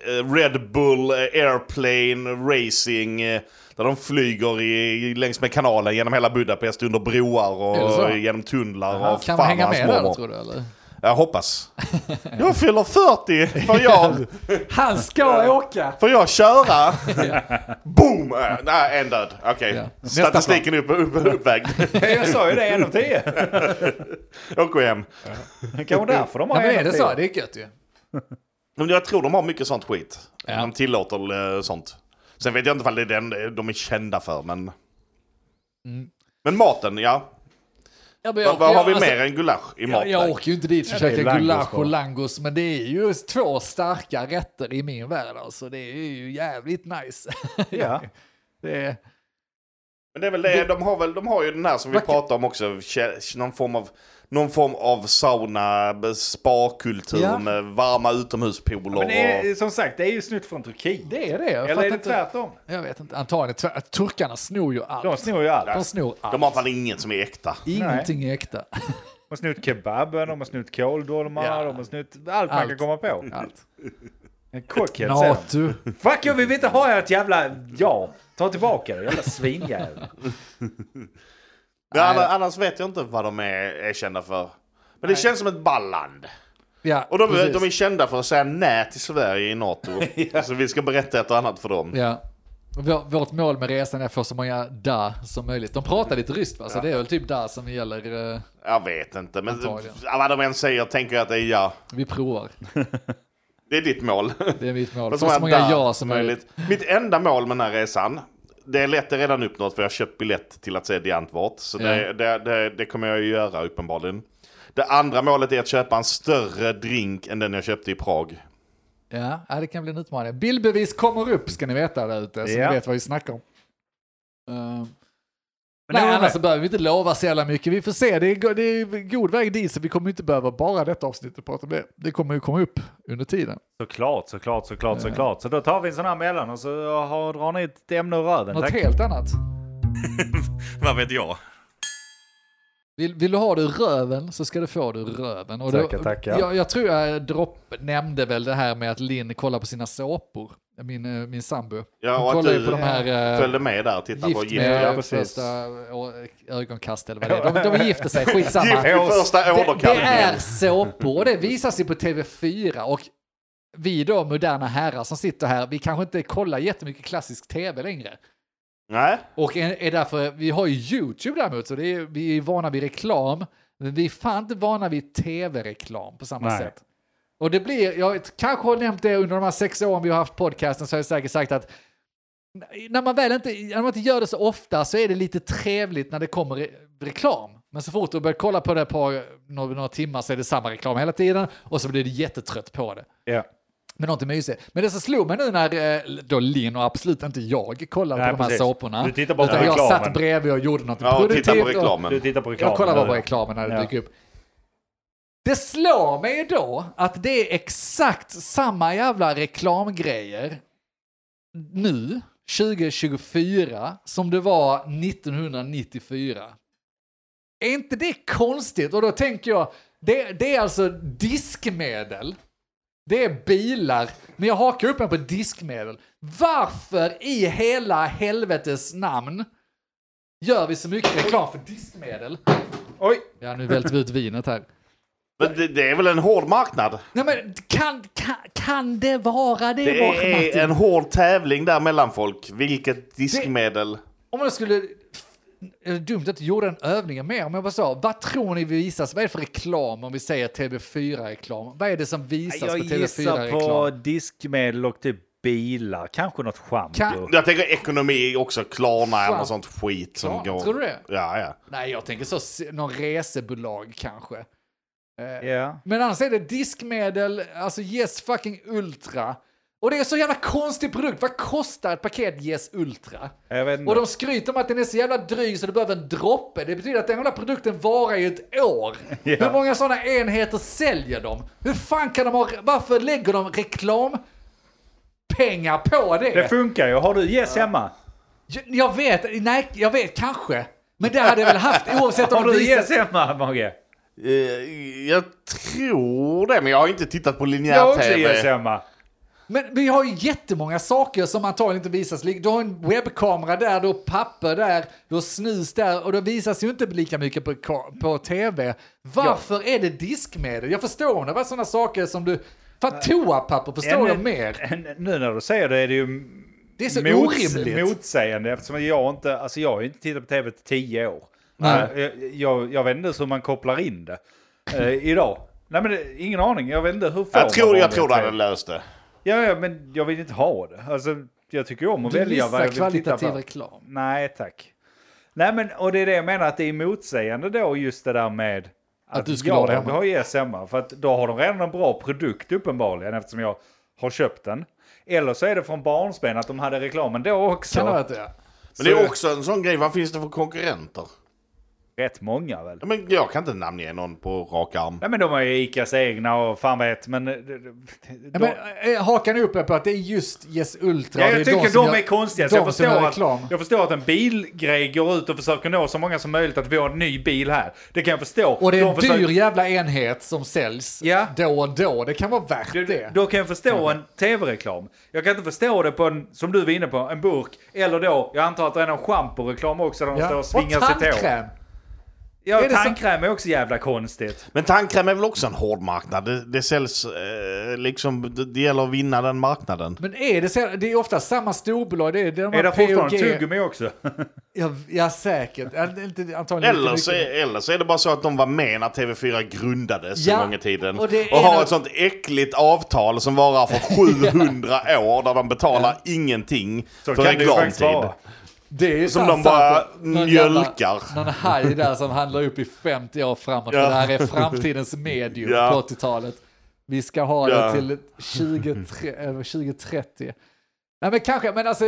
D: eh, Red Bull, eh, Airplane, Racing. eh, Där de flyger i, längs med kanalen genom hela Budapest under broar
B: Är det så?
D: och genom tunnlar. Och
B: Kan man
D: fan
B: hänga
D: hans
B: med där då,
D: mormor.
B: tror du eller?
D: Jag hoppas. Jag fyller 40! Får jag,
B: Han ska åka!
D: får jag köra? Boom! Eh, Nej, en död. Okej.
B: Ja. Nästa
D: Statistiken är upp, upp, uppvägd.
A: Jag sa ju det, en av tio.
D: Åk hem.
A: Kanske därför de
B: Ja,
A: har
B: men
A: en
B: är
A: av
B: det
A: tio.
B: så? Det är gött ju.
D: Men jag tror de har mycket sånt skit.
B: Ja.
D: De tillåter eh, sånt. Sen vet jag inte om det är den de är kända för, men... Men maten, ja.
B: Ja, men
D: Vad-
B: jag-
D: Vad har vi
B: jag- alltså,
D: mer än gulasch i
B: Jag,
D: maten?
B: jag åker ju inte dit för att
A: Ja, det är
B: käka
A: langos
B: gulasch och
A: bara.
B: langos, men det är ju två starka rätter i min värld alltså. Det är ju jävligt nice.
A: Ja.
B: Det är,
D: Men det är väl det, de har, väl, de har ju den här som vi
B: Vad-
D: pratade om också, kä- någon form av, någon form av sauna, b- spakultur
B: Ja.
D: med varma utomhuspooler
A: Men det är, eh,
D: och...
A: som sagt, det är ju snutt från Turkiet.
B: det är det. Jag
A: Eller
B: fattar
A: är det
B: inte-
A: tvärtom?
B: Jag vet inte. Antagligen tvär, turkarna snor ju allt.
A: De snor ju allt.
B: De snor allt.
D: De har fan inget som är äkta.
B: Ingenting är äkta.
A: De har snott kebaben, de har snott kåldolmar,
B: Ja.
A: de har snott allt, man
B: Allt.
A: kan komma på.
B: Allt.
A: En cockhead säger de.
B: Natu.
A: Fuck you, vi vill inte ha ert jävla... Ja, ta tillbaka det, jävla svinjävel.
D: Men annars, annars vet jag inte vad de är, är kända för. Men det känns som ett balland.
B: Ja,
D: Och de,
B: precis.
D: de är kända för att säga nej till Sverige i NATO. Så vi ska berätta ett och annat för dem.
B: Ja. Vår- Vårt mål med resan är att få så många da som möjligt. De pratar lite ryskt va? Så det är väl typ da som gäller. eh,
D: Jag vet inte, men
B: Antagligen.
D: ja, vad de än säger tänker jag att det är ja.
B: Vi provar.
D: Det är ditt mål.
B: Det är mitt mål.
D: Vad
B: Få så
D: är
B: många
D: där
B: ja som möjligt.
D: Mitt enda mål med den här resan, det är lätt det är redan uppnått för jag har köpt biljett till att se Diantvart. Så
B: Ja.
D: det, det, det, det kommer jag ju göra uppenbarligen. Det andra målet är att köpa en större drink än den jag köpte i Prag.
B: Ja, ja, det kan bli en utmaning. Bildbevis kommer upp ska ni veta där ute. Så
A: Ja.
B: ni vet vad vi snackar om. Eh,
A: Men det
B: nej,
A: var
B: annars
A: med.
B: så behöver vi inte lova så jävla mycket. Vi får se. Det är, go- det är god väg dit. Så vi kommer inte behöva bara detta avsnittet prata om det. Det kommer ju komma upp under tiden.
A: Såklart, såklart, såklart, såklart. Så då tar vi en sån här mellan och så har, drar ni ett ämne ur röven.
B: Något
A: Tack.
B: helt annat.
C: Vad vet jag?
B: Vill, vill du ha det ur röven så ska du få det ur röven. Och då,
A: Tackar, tackar.
B: Jag, jag tror jag dropp nämnde väl det här med att Linn kollar på sina såpor. Min, eh, min sambo.
D: Ja,
B: Hon
D: och att
B: kollar ju
D: du
B: på de här... eh,
D: Följde med där och tittade på
B: Gift
D: gift.
B: med
A: ja,
D: Ja.
A: precis.
B: första ö- ögonkast eller vad det är. De, de gifter sig, skitsamma.
D: Gift vid första
B: Det, det är
D: åderkallningen.
B: såpor och det visas ju på TV4 och vi då moderna herrar som sitter här, vi kanske inte kollar jättemycket klassisk TV längre.
D: Nej,
B: Och är är därför, vi har ju YouTube däremot, så det är, vi är vana vid reklam, men vi är fan inte vana vid tv-reklam på samma
A: Nej.
B: sätt. Och det blir, jag kanske har nämnt det under de här sex åren vi har haft podcasten, så har jag säkert sagt att när man väl inte, när man inte gör det så ofta så är det lite trevligt när det kommer re- reklam. Men så fort du börjar kolla på det på några, några timmar så är det samma reklam hela tiden och så blir du jättetrött på det.
A: Ja.
B: Men någonting mysigt. Men det som slog mig nu när eh, då Lin och absolut inte jag kollade
E: Nej,
B: på de här
E: precis.
B: såporna.
E: Du tittar bara på
B: utan jag
E: reklamen.
B: satt bredvid och gjorde något
D: Ja, och titta på
B: produktivt. och-
D: reklamen.
E: Du tittar på reklamen.
B: jag kollar bara på
E: eller?
B: reklamen när det
A: Ja.
B: dyker upp. Det slår mig ju då att det är exakt samma jävla reklamgrejer nu, 2024, som det var 1994. Är inte det konstigt? Och då tänker jag, det, det är alltså diskmedel. Det är bilar, men jag hakar upp mig på diskmedel. Varför i hela helvetes namn gör vi så mycket reklam för diskmedel?
A: Oj!
B: Ja, nu välter vi ut vinet här.
D: Men det, det är väl en hård marknad?
B: Nej men kan, kan, kan det vara det,
D: Det
B: Martin?
D: är en hård tävling där mellan folk. Vilket diskmedel.
B: Om jag skulle... Är det dumt att jag gjorde den övningen med? Om jag bara sa, vad tror ni visas? Vad är det för reklam om vi säger TV4-reklam? Vad är det som visas
A: Jag
B: på TV4-reklam?
A: gissar på diskmedel och typ bilar. Kanske något schampo.
B: Kan-
D: Jag tänker ekonomi också. Klarna eller
B: Fan.
D: något sånt skit som
B: Klarna,
D: går.
B: tror du det?
D: Ja, ja.
B: Nej, jag tänker så, se- någon resebolag kanske.
A: Ja.
B: Men annars är det diskmedel, alltså Yes fucking Ultra. Och det är så jävla konstig produkt. Vad kostar ett paket Yes Ultra?
A: Jag vet inte.
B: Och de skryter om att den är så jävla dryg så du behöver en droppe. Det betyder att den jävla produkten varar ju ett år. Hur många sådana enheter säljer de? Hur fan kan de ha... Varför lägger de reklampengar på det?
A: Det funkar ju. Har du yes hemma?
B: Jag- jag vet, nej, jag vet kanske. Men det hade jag väl haft oavsett om
A: Har
B: de
A: du yes
B: visar...
A: hemma, Mogge?
D: Eh, Jag tror det, men jag har inte tittat på linjär
A: Jag har också
D: tv.
A: yes hemma.
B: Men vi har ju jättemånga saker som antagligen inte visas. Du har en webbkamera där, du har papper där, du har snus där och det visas ju inte lika mycket på, ka- på tv. Varför är det diskmedel? Jag förstår om det var sådana saker som du... Fan, toapapper förstår jag
A: Ännu-
B: mer.
A: Nu när du säger det är det ju
B: Det är så
A: mots-
B: orimligt.
A: motsägande eftersom jag inte, alltså jag har ju inte tittat på tv på tio år.
B: Nej.
A: Eh, Jag, jag, jag vet inte ens hur man kopplar in det eh, idag. Nej men det, ingen aning, jag vet inte hur får
D: Jag tror,
A: man
D: jag
A: vanlig
D: tror du hade
A: TV?
D: löst det.
A: Ja, ja, men jag vill inte ha det. Alltså, jag tycker ju om att
B: Du
A: välja vad
B: missar
A: jag vill titta
B: kvalitativ
A: på.
B: reklam.
A: Nej, tack. Nej, men och det är det jag menar att det är motsägande då just det där med att,
B: du skulle
A: jag
B: ha det hemma.
A: har E yes hemma. För att då har de redan en bra produkt uppenbarligen eftersom jag har köpt den. Eller så är det från barnsben att de hade reklamen då också.
B: Kan det vara det?
D: Men det är också en sån grej, vad finns det för konkurrenter?
A: Rätt många väl?
D: Ja, Men jag kan inte namnge någon på rak arm.
A: Nej men de har ju Icas egna och fan vet men... eh, de- de-
B: Ja, men, eh, hakar ni upp er på att det är just Yes Ultra?
A: Ja,
B: det
A: jag
B: är
A: tycker
B: som
A: de
B: gör-
A: är konstiga. Så
B: de
A: jag,
B: som gör
A: förstår
B: reklam.
A: att, jag förstår att en bilgrej går ut och försöker nå så många som möjligt att vi har en ny bil här. Det kan jag förstå.
B: Och det är en
A: de försöker-
B: dyr jävla enhet som säljs
A: Ja.
B: då och då. Det kan vara värt
A: Du-
B: det.
A: Då kan jag förstå en tv-reklam. Jag kan inte förstå det på en, som du var inne på, en burk. Eller då, jag antar att det är någon schamporeklam också där de står och svingar
B: och
A: sitt hår.
B: tandkräm!
A: Ja,
B: Är det så-
A: tandkräm är också jävla konstigt.
D: Men tandkräm är väl också en hård marknad? Det, det säljs eh, liksom, det, det gäller att vinna den marknaden.
B: Men är det så? Det är ofta samma storbolag. Det är, det är, de
A: Är
B: här
A: det fortfarande
B: POG.
A: tuggummi också?
B: Ja, ja, säkert. Ja, det är inte- Antagligen
D: Eller
B: inte
D: så,
B: mycket.
D: eller så är det bara så att de var med när TV4 grundades
B: Ja,
D: en gång i tiden.
B: och
D: Och,
B: det är
D: har
B: något-
D: ett sånt äckligt avtal som varar för 700 år där de betalar ingenting
A: Så
D: för
A: kan det ju faktiskt
D: reklamtid.
A: vara.
B: Det är ju
D: som
B: sant,
D: de bara
B: sant. Någon jävla-
D: mjölkar.
B: Någon haj där som handlar upp i 50 år framåt.
D: Ja.
B: För det här är framtidens medium
D: Ja.
B: på 80-talet. Vi ska ha det
D: Ja.
B: till 20, eh, 2030. Nej men kanske, men alltså.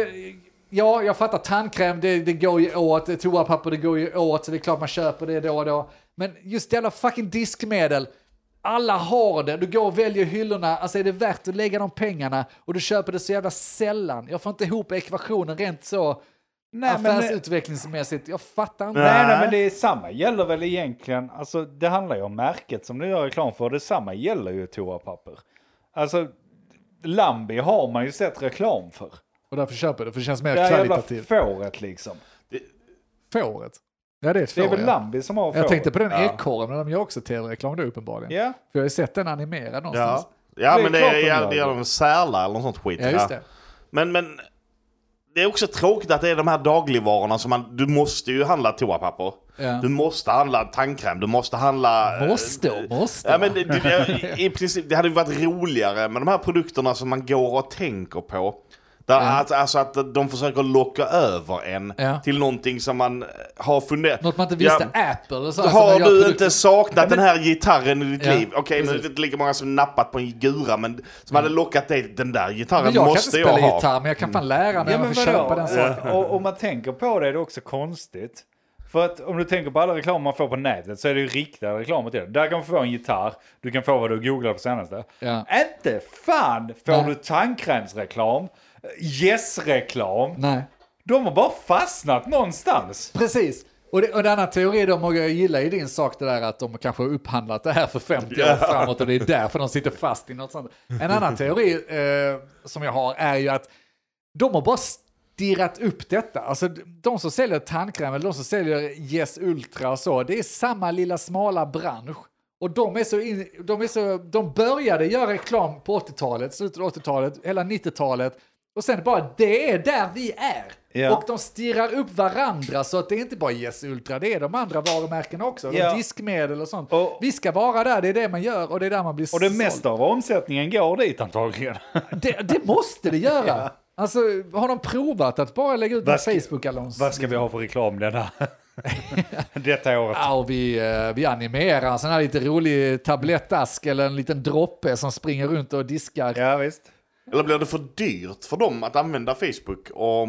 B: Ja, jag fattar tandkräm, det, det går ju åt. Toapapper, det går ju åt. Så det är klart man köper det då och då. Men just jävla fucking diskmedel. Alla har det, du går och väljer hyllorna, alltså är det värt att lägga de pengarna och du köper det så jävla sällan. Jag får inte ihop ekvationen rent så
A: Nej, men, nej,
B: affärsutvecklingsmässigt. Jag fattar inte.
A: nej, men det är samma gäller väl egentligen. Alltså, det handlar ju om märket som du gör reklam för. Detsamma gäller ju toapapper. Alltså, Lambi har man ju sett reklam för.
B: Och därför köper jag det, för det känns mer
A: Det här jävla
B: kvalitativt.
A: fåret liksom.
B: Fåret. Ja, det är
A: Det
B: ett får.
A: är väl
B: ja.
A: Lambi som har fåret.
B: Jag tänkte på den ekorren, men de gör också tv-reklam då uppenbarligen.
A: Ja.
B: För jag har ju sett den animerad någonstans.
D: Ja, ja
A: Det är
D: men det
A: klart
D: är,
A: de gör
D: det
A: det.
D: gäller de särlar eller något sånt skit.
B: Ja, just det.
D: Men, men det är också tråkigt att det är de här dagligvarorna som man... Du måste ju handla toapapper.
B: Ja.
D: Du måste handla tandkräm, du måste handla... eh,
B: Måste och måste.
D: Ja, men det, det, i- i princip, det hade ju varit roligare med de här produkterna som man går och tänker på. Där, att, alltså att de försöker locka över en
B: Ja.
D: till någonting som man har funderat.
B: Något man inte
D: Ja,
B: visste, Apple och så här, som
D: Har
B: gör
D: du
B: produkter.
D: inte saknat den här gitarren i ditt
B: Ja,
D: liv? Okej, nu är
B: precis. Mm.
D: det inte lika många som nappat på en gura, men som hade lockat dig. Den där gitarren
B: Men jag kan inte
D: måste jag
B: spela
D: ha.
B: gitarr, men jag kan fan lära
A: Ja,
B: mig. Ja,
A: men
B: man får köpa den saken.
A: vadå? Och, om man tänker på det är det också konstigt. För att om du tänker på alla reklam man får på nätet så är det ju riktade reklamer till det. Där kan man få en gitarr, du kan få vad du googlar på senaste.
B: Ja.
A: Inte fan får
B: Nej.
A: du tandkrämsreklam, yes-reklam.
B: Nej.
A: De har bara fastnat någonstans.
B: Precis. Och, det, och en annan teori då, Mogge, jag gillar ju din sak det där att de kanske har upphandlat det här för 50 år framåt och det är därför de sitter fast i något sånt. En annan teori eh, som jag har är ju att de har bara stirrat upp detta. Alltså de som säljer tandkräm eller de som säljer Yes Ultra och så, det är samma lilla smala bransch. Och de är så, in, de är så, de började göra reklam på 80-talet, slutet av 80-talet, hela 90-talet. Och sen bara, det är där vi är.
A: Ja.
B: Och de stirrar upp varandra så att det är inte bara Yes Ultra, det är de andra varumärkena också. De
A: Ja.
B: diskmedel och sånt.
A: Och-
B: vi ska vara där, det är det man gör och det är där man blir
A: Och det
B: såld.
A: mesta av omsättningen går dit antagligen.
B: Det, det måste det göra. Alltså, har de provat att bara lägga ut en
A: Vad ska-
B: Facebook-annons?
A: Vad ska vi ha för reklam den här? Ah. Detta året.
B: Ja, och vi, eh, vi animerar en sån här lite rolig tablettask eller en liten droppe som springer runt och diskar.
A: Ja visst.
D: Eller blir det för dyrt för dem att använda Facebook och,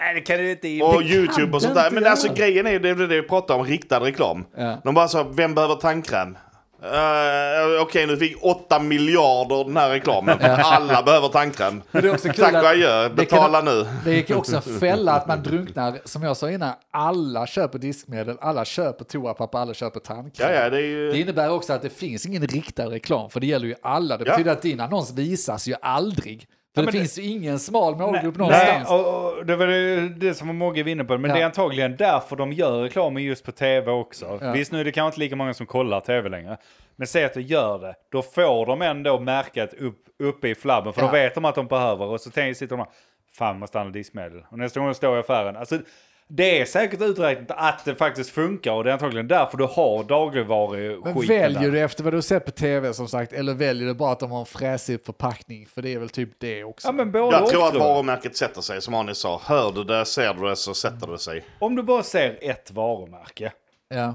A: Nej det kan du inte...
D: och YouTube och sånt där?
B: inte
D: Men
B: göra.
D: alltså grejen är ju, det är det vi pratar om, riktad reklam.
B: Ja.
D: De bara sa, vem behöver tandkräm? Eh, Okej, nu fick 8 miljarder den här reklamen. Alla behöver tandkräm.
B: Men det är också kul
D: Tack
B: att-
D: och adjö,
B: det kan-
D: betala nu.
B: Det gick ju också en fälla att man drunknar, som jag sa innan, alla köper diskmedel, alla köper toapapper, alla köper tandkräm.
D: Ja, ja, det är ju...
B: Det innebär också att det finns ingen riktad reklam, för det gäller ju alla. Det
D: Ja.
B: betyder att din annons visas ju aldrig. För det
A: men-
B: finns ju ingen smal målgrupp
A: Nej,
B: någonstans.
A: och, och, det var det, det som Mogge var inne på, men
B: Ja.
A: det är antagligen därför de gör reklamen just på tv också. Visst, nu är det kanske inte lika många som kollar tv längre, men säg att du gör det, då får de ändå märket upp, uppe i flabben, för
B: Ja.
A: då vet de att de behöver, och så tänker, sitter de här, fan jag måste handla diskmedel, och nästa gång jag står i affären, alltså det är säkert uträknat att det faktiskt funkar och det är antagligen därför du har
B: Men
A: dagligvaruskiten
B: väljer
A: där.
B: du efter vad du har sett på tv som sagt, eller väljer du bara att de har en fräsig förpackning? För det är väl typ det också.
A: Ja, men både
D: Jag
A: och,
D: tror att
A: tror jag.
D: varumärket sätter sig, som Anis sa. Hör du det, ser du det, så sätter det sig.
A: Om du bara ser ett varumärke,
B: Ja.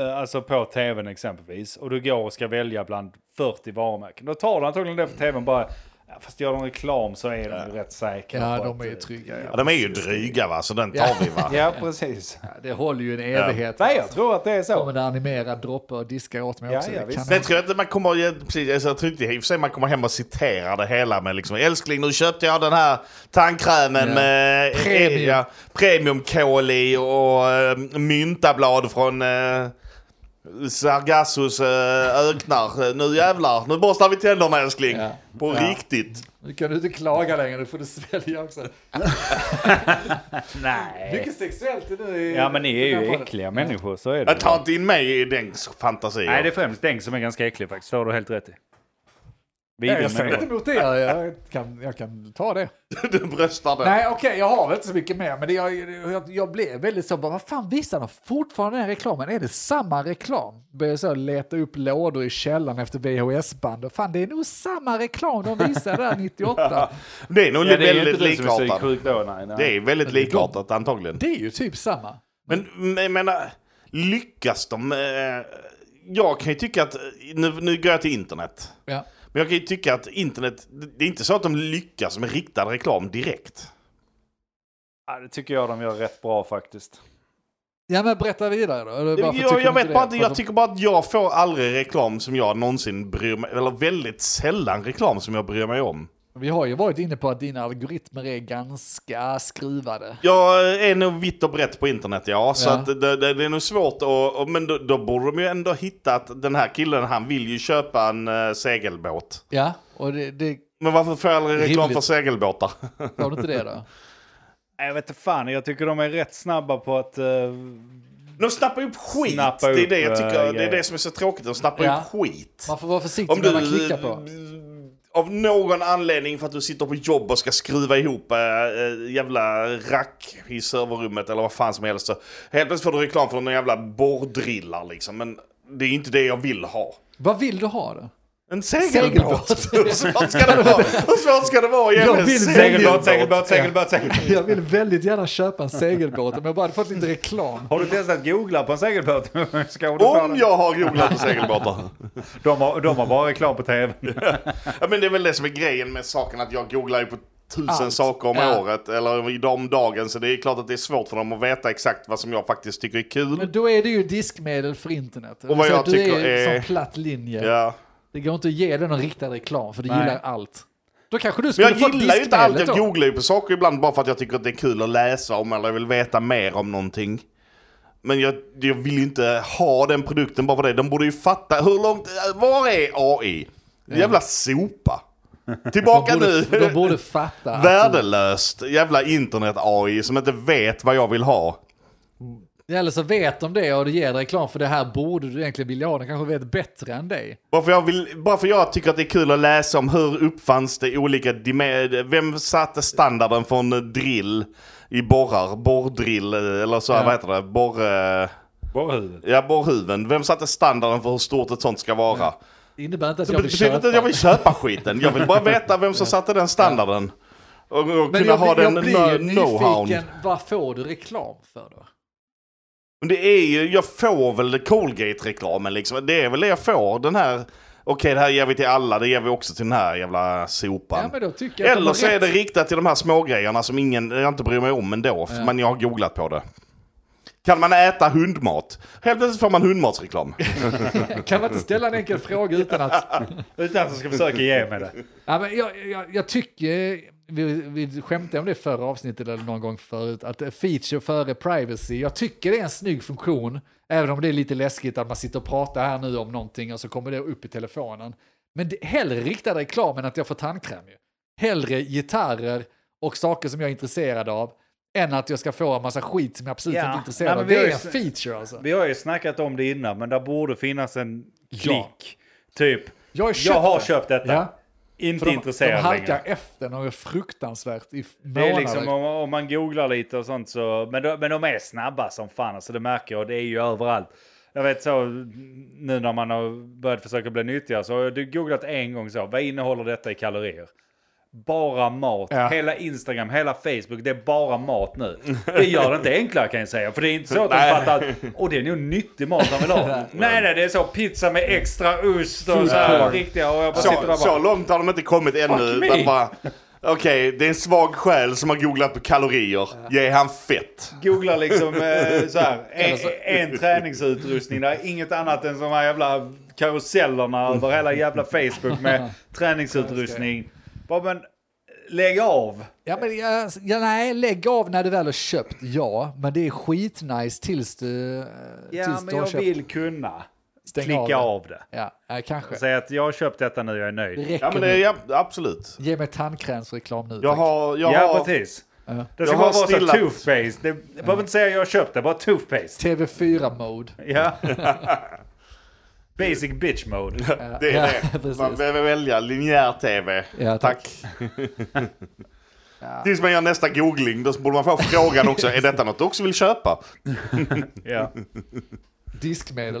A: Eh, alltså på tvn exempelvis, och du går och ska välja bland 40 varumärken. Då tar du antagligen det på tvn bara, "Ja, fast gör de reklam så är de ju rätt säkra.
B: Ja,
A: på
B: de
A: att- eh,
B: är ju trygga.
D: Ja,
B: Ja.
D: de är ju dryga va, så den tar vi va.
A: Ja, precis.
B: Det håller ju en evighet.
A: Nej, jag tror att det är
B: kommer
A: så.
B: det animera droppar och diskar åt mig
A: Ja,
B: också.
A: ja,
B: Det
A: visst.
B: kan-
D: Sen tror jag inte man kommer, precis, alltså, jag tror inte i och för sig man kommer hem och citerar det hela med liksom älskling nu köpte jag den här tandkrämen
B: Ja.
D: med eh,
B: Premium.
D: ja, premiumkol i och eh, myntablad från eh, Sargassos eh, öknar. Nu jävlar, nu borstar vi tänderna älskling.
B: Ja.
D: På
B: Ja.
D: riktigt.
B: Nu kan du inte klaga längre, nu får du svälja också.
A: Nej.
B: Mycket sexuellt är nu i...
A: Ja, men ni är ju
B: programmet.
A: äckliga människor, så är det.
D: Jag tar inte in mig i den fantasin.
A: Nej, det är främst Deng som är ganska äcklig faktiskt. Det har du helt rätt i.
B: Jag
A: Vidrig
B: säger inte
A: människa.
B: emot det, jag kan, jag kan ta det.
D: Du bröstar den.
B: Nej, okej, jag har väl inte så mycket mer, men det, jag, jag, jag blev väldigt så, bara, vad fan visar de fortfarande den här reklamen? Är det samma reklam? Började så leta upp lådor i källaren efter VHS-band, och fan det är nog samma reklam de visar där 98.
D: Det är nog
A: Ja, det är ju
D: väldigt
A: inte du som är
D: likartat.
A: psyksjuk då, nej. nej.
D: Det är väldigt likartat antagligen.
B: Det är ju typ samma.
D: Men men- jag menar, lyckas de? eh, Jag kan ju tycka att, nu, nu går jag till internet.
B: Ja.
D: Men jag kan ju tycka att internet, det är inte så att de lyckas med riktad reklam direkt.
A: Ja, det tycker jag de gör rätt bra faktiskt.
B: Ja men berätta vidare då. Eller varför tycker
D: Jag,
B: du
D: jag vet
B: det?
D: bara inte,
B: För
D: jag
B: att-
D: tycker bara att jag får aldrig reklam som jag någonsin bryr mig, eller väldigt sällan reklam som jag bryr mig om.
B: Vi har ju varit inne på att dina algoritmer är ganska skruvade.
D: Jag är nog vitt och brett på internet, ja. Så
B: Ja.
D: Att det, det, det är nog svårt att... och- Men då, då borde de ju ändå hitta att den här killen, han vill ju köpa en eh, segelbåt.
B: Ja, och det, det
D: Men varför får jag aldrig reklam
B: Rimligt.
D: för segelbåtar?
B: var du inte det då?
A: Nej, Jag vet inte fan, jag tycker de är rätt snabba på att... eh,
D: De snappar upp skit.
A: Snappar
D: det, är
A: upp,
D: det, jag tycker,
A: eh,
D: det är det som är så tråkigt. De snappar
B: Ja.
D: upp skit.
B: Man får vara försiktig med vad man klickar på.
D: Av någon anledning för att du sitter på jobb och ska skruva ihop äh, jävla rack i serverrummet eller vad fan som helst. Så helt plötsligt får du reklam för någon jävla borrdrillar liksom. Men det är inte det jag vill ha.
B: Vad vill du ha då?
D: En
B: Segelbåt.
D: segelbåt. Hur svårt ska det vara? Hur svårt ska det vara att ge
B: Jag
D: mig en
B: vill
E: Segelbåt,
D: segelbåt?
E: segelbåt, segelbåt, segelbåt.
B: Jag vill väldigt gärna köpa en segelbåt om jag bara hade fått lite reklam.
A: Har du testat googla på en segelbåt? Ska du få
D: Om
A: den?
D: jag har googlat på segelbåtar.
A: de, har, de har bara reklam på tv.
D: Ja, men det är väl det som är grejen med saken att jag googlar ju på tusen
B: Allt.
D: saker om
B: Ja.
D: året eller i de dagen så det är klart att det är svårt för dem att veta exakt vad som jag faktiskt tycker är kul.
B: Men då är det ju diskmedel för internet.
D: Och vad
B: Så
D: jag
B: att du är,
D: tycker är-
B: som platt linje.
D: Ja.
B: Det går inte att ge dig någon riktad reklam för du
A: Nej.
B: gillar allt. Då kanske du
D: Men
B: skulle
D: jag
B: få
D: gillar ju inte allt,
B: diskmedlet
D: jag
B: då.
D: googlar ju på saker ibland bara för att jag tycker att det är kul att läsa om eller jag vill veta mer om någonting. Men jag, jag vill ju inte ha den produkten bara för det. De borde ju fatta hur långt, var är AI? Jävla sopa. Tillbaka
B: De borde,
D: nu.
B: de borde fatta. att-
D: Värdelöst jävla internet-AI som inte vet vad jag vill ha.
B: Eller så vet de det och det ger dig reklam för det här borde du egentligen vilja ha. De kanske vet bättre än dig.
D: Bara för, jag vill, bara för jag tycker att det är kul att läsa om hur uppfanns det olika... dim- Vem satte standarden för en drill i borrar? Borrdrill, eh, eller så,
B: Ja.
D: vad heter det? Borr... eh,
A: Borrhuvudet.
D: Ja, borrhuven. Vem satte standarden för hur stort ett sånt ska vara?
B: Det innebär inte att
D: Det
B: jag vill
D: betyder
B: köpa.
D: inte att jag vill köpa skiten. Jag vill bara veta vem som satte den standarden. Och, och kunna
B: Men jag,
D: ha
B: blir-
D: den
B: jag blir ju
D: kno- know-hown.
B: nyfiken, vad får du reklam för då?
D: Men det är ju, jag får väl Colgate-reklamen liksom. Det är väl det jag får. Den här, okej det här ger vi till alla, det ger vi också till den här jävla sopan.
B: Ja, men då tycker jag att de
D: Eller
B: har
D: så är
B: rätt.
D: det riktat till de här smågrejerna som ingen, jag inte bryr mig om ändå, för
B: Ja.
D: men jag har googlat på det. Kan man äta hundmat? Helt plötsligt får man hundmatsreklam.
B: Kan man inte ställa en enkel fråga utan att...
A: Utan att de ska försöka ge mig det.
B: Ja, men jag, jag, jag tycker, vi, vi skämtade om det i förra avsnittet eller någon gång förut, att feature före privacy. Jag tycker det är en snygg funktion, även om det är lite läskigt att man sitter och pratar här nu om någonting och så kommer det upp i telefonen. Men det, hellre riktad reklam än att jag får tandkräm ju. Hellre gitarrer och saker som jag är intresserad av, än att jag ska få en massa skit som jag absolut
A: Ja.
B: inte är
A: Nej,
B: intresserad
A: men
B: av.
A: vi har
B: Det är
A: ju
B: en
A: s-
B: feature alltså.
A: Vi har ju snackat om det innan, men där borde finnas en
B: Ja.
A: klick. Typ,
B: Jag har köpt,
A: jag har
B: det.
A: köpt detta.
B: Ja.
A: Inte
B: För de, de
A: intresserad
B: halkar
A: längre.
B: efter något fruktansvärt i månader.
A: Det är liksom om, om man googlar lite och sånt så, men de, men de är snabba som fan, alltså det märker jag, det är ju överallt. Jag vet så, nu när man har börjat försöka bli nyttigare så har jag googlat en gång så, vad innehåller detta i kalorier? Bara mat,
B: Ja.
A: hela Instagram, hela Facebook, det är bara mat nu. Det gör det inte enklare kan jag säga, för det är inte så att de
D: Nej.
A: fattar att åh det är nog nyttig mat han vill ha. nej, nej, det är så pizza med extra ost och
B: Food
A: så här,
B: porn.
A: riktiga och jag bara sitter där
D: Så,
A: bara,
D: så långt har de inte kommit ännu.
A: me.
D: utan bara, Okej, det är en svag själ som har googlat på kalorier. Ge han fett.
A: googlar liksom eh, så här, en, en träningsutrustning där inget annat än de här jävla karusellerna över hela jävla Facebook med träningsutrustning. Bara, men lägg av!
B: Ja, men jag, ja, nej, lägg av när du väl har köpt, ja. Men det är skitnice tills du, eh,
A: Ja,
B: tills du
A: men
B: har
A: jag
B: köpt.
A: vill kunna
B: Stäng
A: klicka
B: av
A: av det.
B: Ja, ja, kanske.
A: Säg att jag har köpt detta nu, jag är
B: Det
A: nöjd.
B: räcker
D: Ja men det är,
B: nu.
D: ja, absolut.
B: Ge mig tandkrämsreklam nu.
D: Jag
B: tack.
D: har, jag har...
A: Ja, precis. Det ska
D: Jag
A: bara
D: har
A: vara så
D: stillat-
A: här toothpaste. Det, jag behöver inte säga jag har köpt det, bara toothpaste.
B: TV4-mode.
A: Ja. Basic bitch mode.
D: Det är
B: Ja,
D: det.
B: precis.
D: Man behöver välja linjär tv.
B: Ja,
D: tack.
B: tack.
D: Tills man gör nästa googling, då borde man få frågan också, är detta något du också vill köpa?
A: Ja.
B: Diskmedel.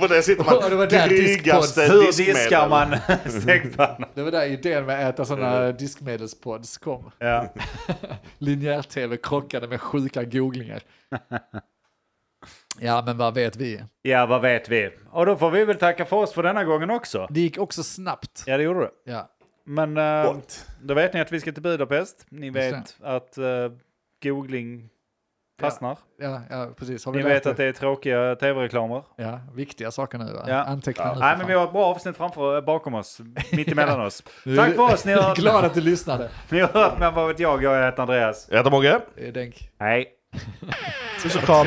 D: Och där sitter man,
B: Och det var där
D: drygaste
B: diskpodd.
A: Hur
D: diskmedel.
A: diskar man stekpannan?
B: det var där idén med att äta sådana diskmedelspods kom.
A: Ja.
B: Linjär-tv krockade med sjuka googlingar. Ja, men vad vet vi?
A: Ja, vad vet vi? Och då får vi väl tacka för oss för denna gången också.
B: Det gick också snabbt.
A: Ja, det gjorde du.
B: Ja.
A: Men eh,
D: What?
A: då vet ni att vi ska till Budapest. Ni vet
B: Just
A: att eh, googling fastnar.
B: Ja, ja, precis. Har vi
A: Ni
B: lärt
A: vet att det är tråkiga tv-reklamer.
B: Ja, viktiga saker nu. Va?
A: Ja.
B: Anteckna nu. för
A: Nej, men
B: fan.
A: vi har ett bra avsnitt framför, eh, bakom oss, mitt emellan oss.
B: Nu är
A: Tack
B: du-
A: för oss, ni har hört,
B: Glad att du lyssnade.
A: ni har hört men vad vet jag, jag heter Andreas.
D: Jag heter Mogge.
B: Eh, Denk.
A: Hej.
D: Puss och kram.